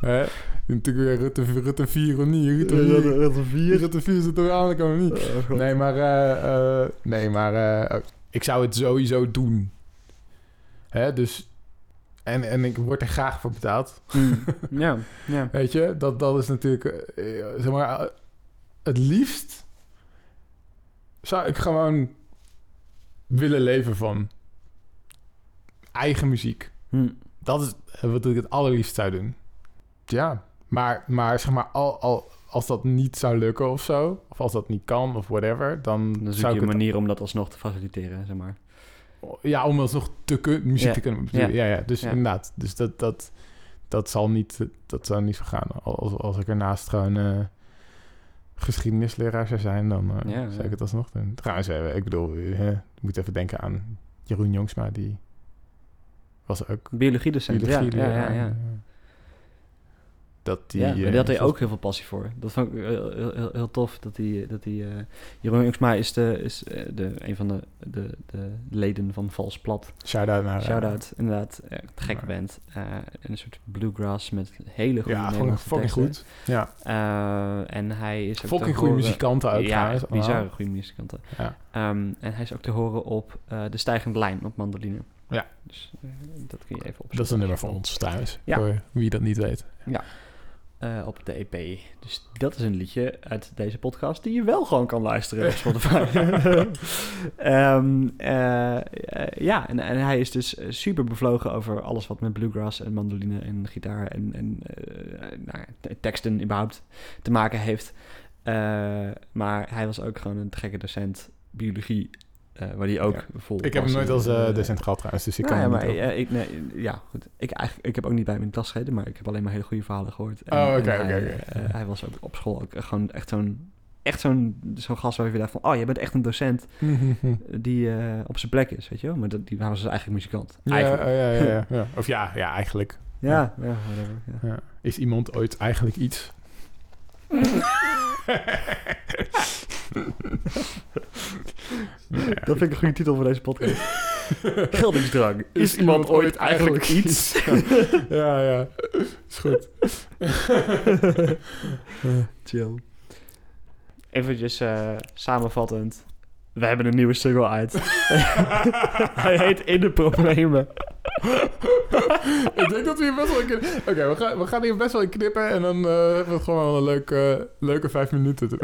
S2: Hè? Natuurlijk weer Rutte, Rutte 4 of niet. Rutte 4.
S1: Level
S2: Rutte 4 zit er weer aan, ik kan hem niet. Nee, maar... eh, eh, nee, maar... eh, ik zou het sowieso doen. Hè, dus... En, en ik word er graag voor betaald.
S1: Hmm. Ja, ja.
S2: Weet je, dat, dat is natuurlijk... eh, eh, zeg maar... eh, het liefst... Zou ik gewoon... Willen leven van... Eigen muziek.
S1: Hm.
S2: Dat is eh, wat ik het allerliefst zou doen. Ja, maar, maar zeg maar, al, al, als dat niet zou lukken of zo, of als dat niet kan of whatever, dan,
S1: Dan zoek
S2: zou
S1: je
S2: ik
S1: een
S2: het...
S1: manier om dat alsnog te faciliteren, zeg maar.
S2: Ja, om alsnog te kun- muziek
S1: Ja.
S2: te kunnen
S1: Ja.
S2: besturen. Ja, ja, dus
S1: Ja.
S2: inderdaad. Dus dat, dat, dat, zal niet, dat zou niet zo gaan. Als, als ik ernaast gewoon eh, geschiedenisleraar zou zijn, dan eh,
S1: Ja,
S2: zou
S1: ja.
S2: ik het alsnog doen. Trouwens, eh, ik bedoel, eh, je moet even denken aan Jeroen Jongsma, die was ook
S1: Biologie docent.
S2: biologie
S1: ja, ja, ja, ja.
S2: dat die...
S1: ja, maar
S2: eh,
S1: daar had hij
S2: zoals-
S1: ook heel veel passie voor. Dat vond ik eh, heel, heel, heel, tof. Dat hij, dat hij, eh, Jeroen Jongsma is, de, is eh, de, een van de, de, de leden van Vals Plat.
S2: Shout-out naar... eh,
S1: Shout-out, inderdaad. Eh, gekke
S2: maar-
S1: band. Eh, een soort bluegrass met hele goede
S2: Ja, fucking,
S1: Nederlandse
S2: fucking
S1: teksten.
S2: goed. Ja,
S1: Eh, en hij is ook
S2: fucking
S1: te
S2: goede
S1: horen-
S2: muzikanten ook
S1: Ja,
S2: trouwens, allemaal.
S1: bizarre goede muzikanten.
S2: Ja.
S1: Ehm, en hij is ook te horen op eh, De Stijgende Lijn op mandoline.
S2: Ja.
S1: Dus eh, dat kun je even opzoeken.
S2: Dat is een nummer van ons thuis,
S1: Ja.
S2: voor wie dat niet weet.
S1: Eh, op de EP. Dus dat is een liedje uit deze podcast die je wel gewoon kan luisteren op
S2: (laughs)
S1: Spotify. Ehm, eh, eh, ja, en, en hij is dus eh, super bevlogen over alles wat met bluegrass en mandoline en gitaar en, en eh, nou, ja, te- teksten überhaupt te maken heeft. Eh, maar hij was ook gewoon een te gekke docent biologie, eh, waar hij ook vol
S2: Ik heb hem
S1: passie,
S2: nooit als eh,
S1: eh,
S2: docent gehad trouwens, dus ik
S1: nou
S2: kan
S1: ja,
S2: hem
S1: maar,
S2: niet
S1: eh, ik, nee, ja, goed. Ik, eigenlijk, ik heb ook niet bij hem in de klas gezeten, maar ik heb alleen maar hele goede verhalen gehoord. En-
S2: Oh,
S1: en
S2: oké,
S1: hij,
S2: oké, oké.
S1: eh, hij was ook op school ook gewoon echt zo'n echt zo'n zo'n gast waar je weer dacht van... oh, je bent echt een docent
S2: op-
S1: die eh, op zijn plek is, weet je wel? Maar dat, die hij was dus eigenlijk muzikant.
S2: (laughs) Ja,
S1: Eigenlijk.
S2: oh, ja, ja, (laughs) ja, ja. Of ja, ja, eigenlijk.
S1: Ja, ja, whatever. Ja.
S2: Ja. Is iemand ooit eigenlijk (laughs) iets?
S1: Dat vind ik een goede titel voor deze podcast. (laughs) Geldingsdrang. Is,
S2: iemand ooit eigenlijk
S1: (laughs)
S2: (laughs) ja, ja. Is goed.
S1: Chill. Eventjes eh, samenvattend. We hebben een nieuwe single uit. (laughs) (laughs) Hij heet In de Problemen.
S2: (laughs) ik denk dat we hier best wel een keer... Oké, we, gaan, we gaan hier best wel in knippen en dan eh, hebben we het gewoon wel een leuke, leuke vijf minuten. te-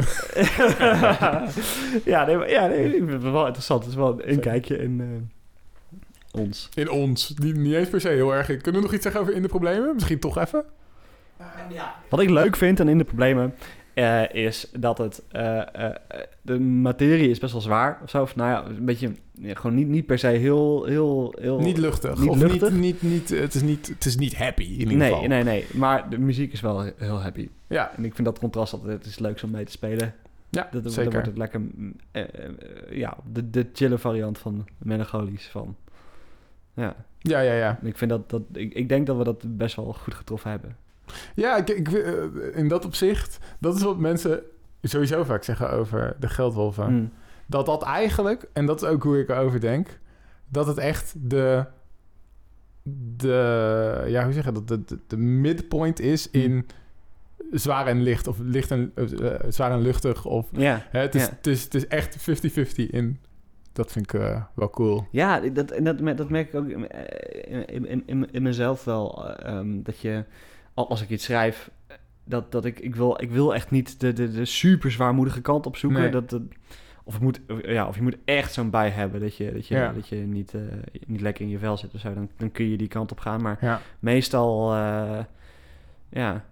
S1: (laughs) ja, nee, maar- ja nee, ik vind het wel interessant. Het is wel een kijkje in eh, ons.
S2: In ons. Niet, niet eens per se heel erg. Kunnen we nog iets zeggen over in de problemen? Misschien toch even?
S1: Wat ik leuk vind en in de problemen eh, is dat het eh, eh, eh, de materie is best wel zwaar of zo. Of, nou ja, een beetje ja, gewoon niet, niet per se heel heel heel.
S2: Niet luchtig.
S1: Oh, niet
S2: of
S1: luchtig?
S2: Niet, niet, niet, het, is niet, het is niet happy in ieder
S1: nee,
S2: geval.
S1: nee, nee. Maar de muziek is wel heel happy.
S2: Ja,
S1: En ik vind dat contrast altijd het is leuk om mee te spelen.
S2: ja
S1: Dat,
S2: zeker.
S1: Dan wordt het lekker mm, eh, eh, eh, ja, de, de chille variant van melancholisch van. Ja.
S2: Ja, ja, ja.
S1: En Ik, vind dat, dat, ik, ik denk dat we dat best wel goed getroffen hebben.
S2: Ja, ik, ik, eh, in dat opzicht, dat is wat mensen sowieso vaak zeggen over de geldwolven.
S1: Mm.
S2: Dat dat eigenlijk, en dat is ook hoe ik erover denk, dat het echt de, de ja, hoe zeg je dat, de, de, de midpoint is
S1: Hmm.
S2: in zwaar en licht, of licht en, eh, eh, zwaar en luchtig, of
S1: Ja,
S2: hè, het, is,
S1: Ja.
S2: het, is, het is echt 50-50 in. Dat vind ik eh, wel cool.
S1: ja dat, en dat, me- dat merk ik ook in, eh, in, in, in, in mezelf wel. eh, ehm, dat je, al- als ik iets schrijf, eh, dat, dat ik, ik, wil, ik wil echt niet de, de, de super zwaarmoedige kant opzoeken.
S2: Nee.
S1: Dat, dat, of, het moet, of- ja, of je moet echt zo'n bij hebben dat je, dat je,
S2: Ja.
S1: dat je niet, eh, niet lekker in je vel zit of zo. Dan, dan kun je die kant op gaan. Maar
S2: Ja.
S1: meestal, eh, ja,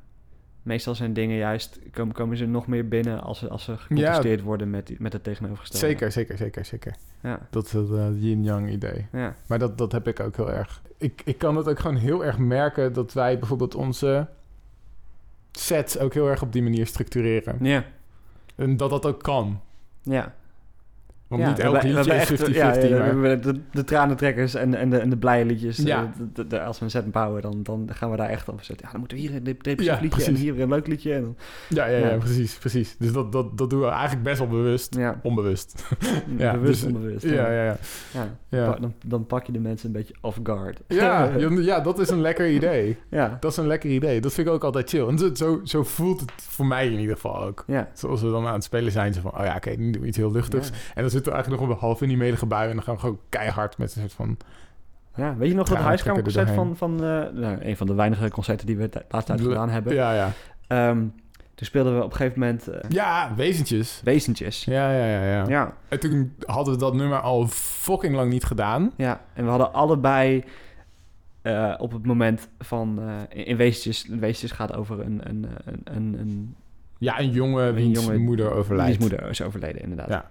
S1: meestal zijn dingen juist, komen, komen ze nog meer binnen als ze, als ze gecontesteerd worden met, die- met het tegenovergestelde.
S2: Zeker, zeker, zeker, zeker.
S1: Ja,
S2: Dat is het eh, yin-yang idee.
S1: ja.
S2: Maar dat, dat heb ik ook heel erg. Ik, ik kan het ook gewoon heel erg merken dat wij bijvoorbeeld onze sets ook heel erg op die manier structureren.
S1: Ja,
S2: En dat dat ook kan.
S1: ja.
S2: Want
S1: ja,
S2: niet
S1: we
S2: elk
S1: hebben- we
S2: liedje
S1: hebben
S2: is
S1: echt,
S2: 50-50.
S1: ja, ja, we
S2: maar-
S1: hebben de, de tranentrekkers en, en, de, en de blije liedjes.
S2: Ja.
S1: eh, de- de- de- als we een set bouwen, dan, dan gaan we daar echt op zetten. Ja, dan moeten we hier een dep- depressief
S2: Ja,
S1: liedje en
S2: precies.
S1: hier een leuk liedje. En dan,
S2: ja, ja, ja,
S1: ja.
S2: precies, precies. Dus dat, dat, dat doen we eigenlijk best wel bewust.
S1: ja,
S2: Onbewust. (laughs)
S1: ja, Mm, bewust,
S2: dus-
S1: onbewust.
S2: Ja, ja, ja.
S1: Ja.
S2: Ja,
S1: Pa- Dan, dan pak je de mensen een beetje off guard. (laughs)
S2: ja, ja, ja, dat is een lekker idee.
S1: ja,
S2: Dat is een lekker idee. Dat vind ik ook altijd chill. En zo- zo, zo voelt het voor mij in ieder geval ook.
S1: ja.
S2: Zoals we dan aan het spelen zijn, zo van, oh ja, oké, nu doen we iets heel luchtigs.
S1: Ja.
S2: En dan zitten we eigenlijk nog op een half in die melige bui en dan gaan we gewoon keihard met een soort van...
S1: Ja, weet je nog dat
S2: Ja,
S1: huiskamerconcert
S2: trekken
S1: van,
S2: er
S1: van eh, nou, een van de weinige concerten die we t- laatst uit gedaan hebben?
S2: Ja, ja.
S1: Ehm, toen speelden we op een gegeven moment eh,
S2: Ja, wezentjes.
S1: wezentjes.
S2: Ja, ja, ja, ja.
S1: Ja,
S2: En toen hadden we dat nummer al fucking lang niet gedaan.
S1: ja. En we hadden allebei eh, op het moment van eh, in, in wezentjes. Wezentjes gaat over een, een, een, een, een
S2: Ja, een jongen
S1: Een
S2: wiens
S1: jongen
S2: moeder overlijdt.
S1: wiens moeder is overleden inderdaad.
S2: Ja,
S1: en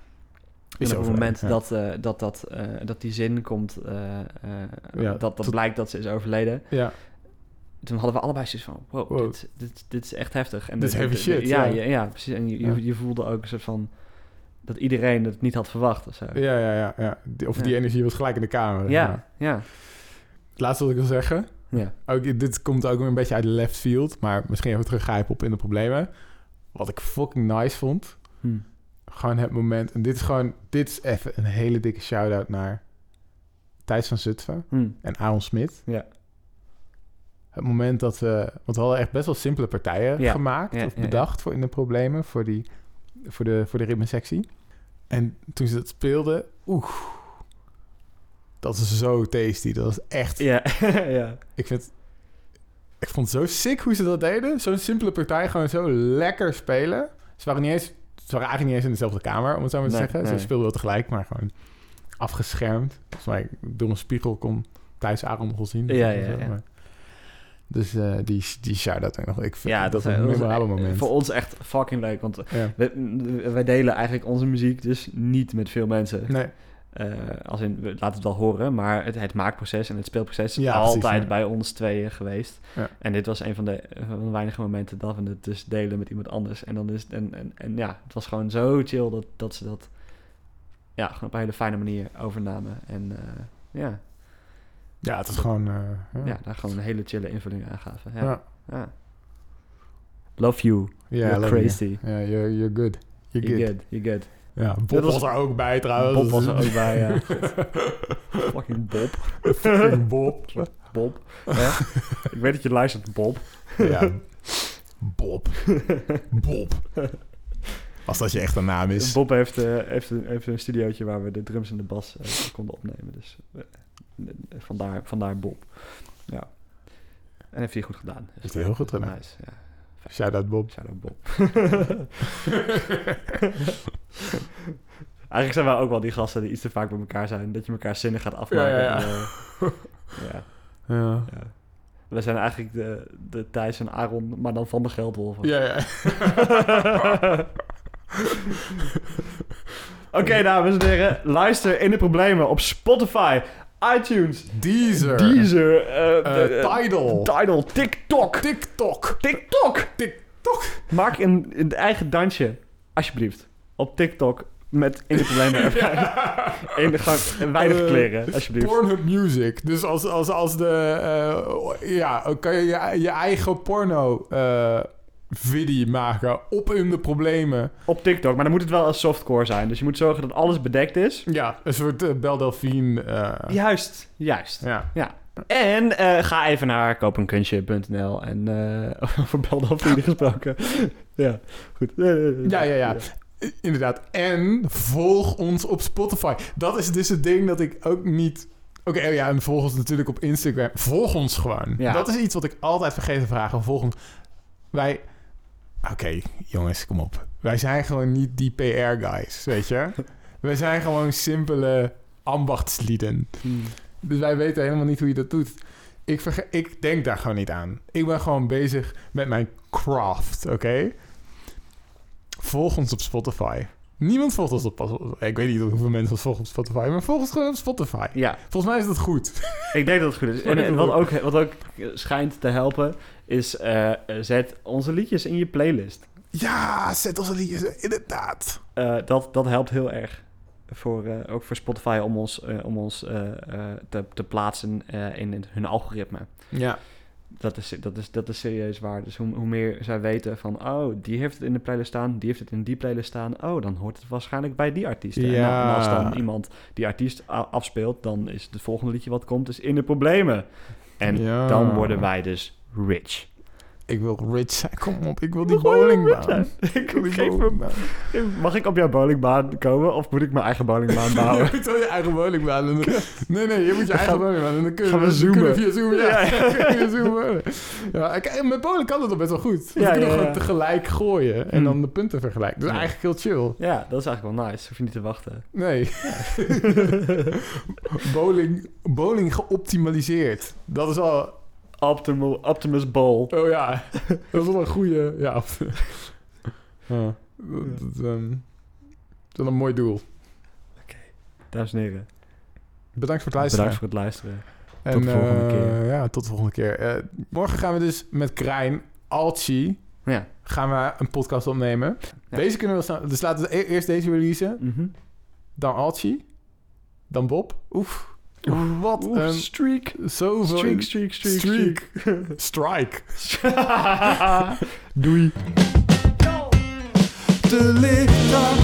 S1: op het
S2: overleden,
S1: moment
S2: ja.
S1: dat, eh, dat, dat, eh, dat die zin komt, eh, eh,
S2: Ja,
S1: dat, dat
S2: tot-
S1: blijkt dat ze is overleden.
S2: Ja,
S1: Toen hadden we allebei zoiets van, wow,
S2: Wow.
S1: Dit, dit, dit is echt heftig. En
S2: Dit is
S1: de-
S2: heavy
S1: de- de-
S2: shit,
S1: Ja,
S2: ja.
S1: ja. ja, precies. En je, je-
S2: Ja.
S1: je voelde ook een soort van... dat iedereen het niet had verwacht of zo. Ja,
S2: ja, ja. ja, ja. Die- Of die
S1: Ja.
S2: energie was gelijk in de kamer.
S1: ja, ja.
S2: Het laatste wat ik wil zeggen,
S1: Ja.
S2: Ook, dit komt ook weer een beetje uit left field, maar misschien even teruggrijpen op in de problemen. Wat ik fucking nice vond.
S1: Hm.
S2: Gewoon het moment. En dit is gewoon, dit is even een hele dikke shout-out naar Thijs van Zutphen
S1: Hm.
S2: en Aaron Smit.
S1: Ja.
S2: Het moment dat we, want we hadden echt best wel simpele partijen
S1: Ja.
S2: gemaakt
S1: Ja,
S2: of
S1: ja, ja.
S2: bedacht voor in de problemen voor, die, voor de, voor de ritmesectie. En toen ze dat speelden, oeh, dat is zo tasty. Dat is echt
S1: Ja, (laughs) ja.
S2: ik vind... Ik vond het zo sick hoe ze dat deden. Zo'n simpele partij gewoon zo lekker spelen. Ze waren, niet eens, ze waren eigenlijk niet eens in dezelfde kamer, om het zo maar te
S1: Nee,
S2: zeggen.
S1: nee.
S2: Ze speelden wel tegelijk, maar gewoon afgeschermd. Volgens mij door een spiegel kon Thijs Aron nog wel zien.
S1: Ja,
S2: Of
S1: ja,
S2: zo,
S1: ja.
S2: maar- Dus eh, die, die shout-out ook nog. Ik vind
S1: Ja,
S2: dat,
S1: dat,
S2: een
S1: eh, dat is
S2: memorabele moment.
S1: Voor ons echt fucking leuk, want
S2: Ja.
S1: we- wij delen eigenlijk onze muziek dus niet met veel mensen.
S2: Nee,
S1: Eh, als in, we laten het wel horen, maar het, het maakproces en het speelproces is
S2: Ja, precies,
S1: altijd
S2: ja.
S1: bij ons tweeën geweest.
S2: Ja.
S1: En dit was een van de, van de weinige momenten dat we het dus delen met iemand anders. En, dan is, en, en, en ja, het was gewoon zo chill dat, dat ze dat ja, gewoon op een hele fijne manier overnamen. En eh, ja,
S2: ja, het is gewoon... eh, ja.
S1: ja. daar gewoon een hele chille invulling aan gaven. Ja.
S2: Ja.
S1: Ja. Love you.
S2: Ja,
S1: You're
S2: love you.
S1: crazy.
S2: Ja, you're, you're good. You're
S1: You
S2: good.
S1: good, you good.
S2: Ja, Bob
S1: Dat
S2: was,
S1: was-
S2: er ook bij trouwens.
S1: Bob
S2: (laughs)
S1: was er ook bij, ja. Fucking Bob.
S2: Fucking (laughs) Bob.
S1: Bob. Hè? Ik weet dat je luistert, Bob.
S2: Ja. (laughs) Bob. Bob. Als dat je echte naam is.
S1: Bob heeft, eh, heeft, een, heeft een studiootje waar we de drums en de bas eh, konden opnemen. Dus eh, eh, vandaar, vandaar Bob. Ja. En heeft hij goed gedaan. Dus
S2: Heeft hij heel goed gedaan.
S1: Nice, ja.
S2: Shout-out Bob.
S1: Shout-out Bob. (laughs) Eigenlijk zijn wij ook wel die gasten die iets te vaak bij elkaar zijn. Dat je elkaar zinnen gaat afmaken.
S2: Ja, ja, ja.
S1: En, eh, ja,
S2: Ja.
S1: ja. We zijn eigenlijk de, de Thijs en Aaron, maar dan van de Geldwolven.
S2: Ja, ja.
S1: (laughs) Oké, dames en heren. Luister in de problemen op Spotify, iTunes,
S2: Deezer.
S1: Deezer, eh,
S2: Eh,
S1: de- eh,
S2: Tidal.
S1: Tidal, TikTok.
S2: TikTok.
S1: TikTok!
S2: TikTok.
S1: Maak een, een eigen dansje, alsjeblieft, op TikTok met in de problemen (laughs)
S2: (laughs)
S1: erbij. In de gang, en weinig
S2: Eh,
S1: kleren, alsjeblieft.
S2: Pornhub Music. Dus als, als, als de... eh, ja, kan je je, je eigen porno... eh video maken op in de problemen.
S1: Op TikTok, maar dan moet het wel als softcore zijn. Dus je moet zorgen dat alles bedekt is.
S2: Ja, een soort eh, Bel Delphine. eh,
S1: Juist, juist.
S2: ja.
S1: En eh, ga even naar kopenkunstje.nl en eh (laughs) over Belden vrienden
S2: (laughs)
S1: gesproken. ja, goed.
S2: Ja, ja, ja. Inderdaad. En volg ons op Spotify. Dat is dus het ding dat ik ook niet. Oké, oh ja, en volg ons natuurlijk op Instagram. Volg ons gewoon.
S1: Ja.
S2: Dat is iets wat ik altijd vergeet te vragen. Volg ons. Wij. Oké, jongens, kom op. Wij zijn gewoon niet die PR-guys, weet je? Wij zijn gewoon simpele ambachtslieden.
S1: Hmm.
S2: Dus wij weten helemaal niet hoe je dat doet. Ik, verge- ik denk daar gewoon niet aan. Ik ben gewoon bezig met mijn craft, oké? Volg ons op Spotify. Niemand volgt ons op Spotify. Ik weet niet hoeveel mensen ons volgen op Spotify, maar volg ons gewoon op Spotify.
S1: Ja,
S2: Volgens mij is dat goed.
S1: ik denk dat het goed is. En, en wat, ook, wat ook schijnt te helpen is eh, eh, zet onze liedjes in je playlist.
S2: Ja, zet ons liedjes. Inderdaad.
S1: Eh, dat, dat helpt heel erg. Voor, eh, ook voor Spotify om ons, eh, om ons eh, eh, te, te plaatsen eh, in het- hun algoritme.
S2: Ja.
S1: Dat is, dat, is, dat is serieus waar. Dus hoe, hoe meer zij weten van... oh, die heeft het in de playlist staan, die heeft het in die playlist staan... oh, dan hoort het waarschijnlijk bij die artiest. En dan- En,
S2: Ja.
S1: als dan iemand die artiest a- afspeelt... dan is het volgende liedje wat komt, is in de problemen. En
S2: Ja.
S1: dan worden wij dus rich.
S2: Ik wil rich zijn. Kom op, ik wil die
S1: wil gewoon
S2: bowlingbaan.
S1: rich
S2: (laughs)
S1: zijn. Ik
S2: wil die
S1: geef hem-
S2: bowlingbaan.
S1: Mag ik op jouw bowlingbaan komen of moet ik mijn eigen
S2: (laughs)
S1: bowlingbaan bouwen?
S2: Je moet wel je eigen woning bouwen. Nee, nee, je moet je eigen woning bouwen. Dan kun je,
S1: gaan we
S2: dan kunnen
S1: zoomen.
S2: via Zoom, ja.
S1: Ja.
S2: (laughs) Dan kun je zoomen. Ja, kijk, met Polen kan dat al best wel goed. Want
S1: Ja,
S2: we kunnen
S1: ja,
S2: gewoon
S1: ja.
S2: tegelijk gooien en
S1: Hmm.
S2: dan de punten vergelijken. Dus
S1: Ja.
S2: eigenlijk heel chill.
S1: Ja, dat is eigenlijk wel nice. Hoef je niet te wachten. (laughs)
S2: Nee. bowling, bowling geoptimaliseerd. Dat is al...
S1: Optimal, Optimus Bowl.
S2: Oh ja, dat is wel een goede... Ja. (laughs)
S1: Ah.
S2: ja. Dat, dat, ehm, dat is wel een mooi doel.
S1: Dames en heren,
S2: Bedankt voor het luisteren.
S1: bedankt voor het luisteren.
S2: En,
S1: Tot de volgende
S2: eh,
S1: keer.
S2: Ja, tot de volgende keer. Eh, morgen gaan we dus met Krijn, Alchi,
S1: Ja.
S2: gaan we een podcast opnemen.
S1: Ja.
S2: Deze kunnen we wel snel... Dus laten we e- eerst deze releasen,
S1: Mhm.
S2: dan Alchi, dan Bob. Oef, Wat
S1: Oeh,
S2: een
S1: streak.
S2: zoveel...
S1: Streak, streak, streak, streak.
S2: Um, Streak. Strike. (laughs)
S1: (laughs) Doei.
S3: Te licht aan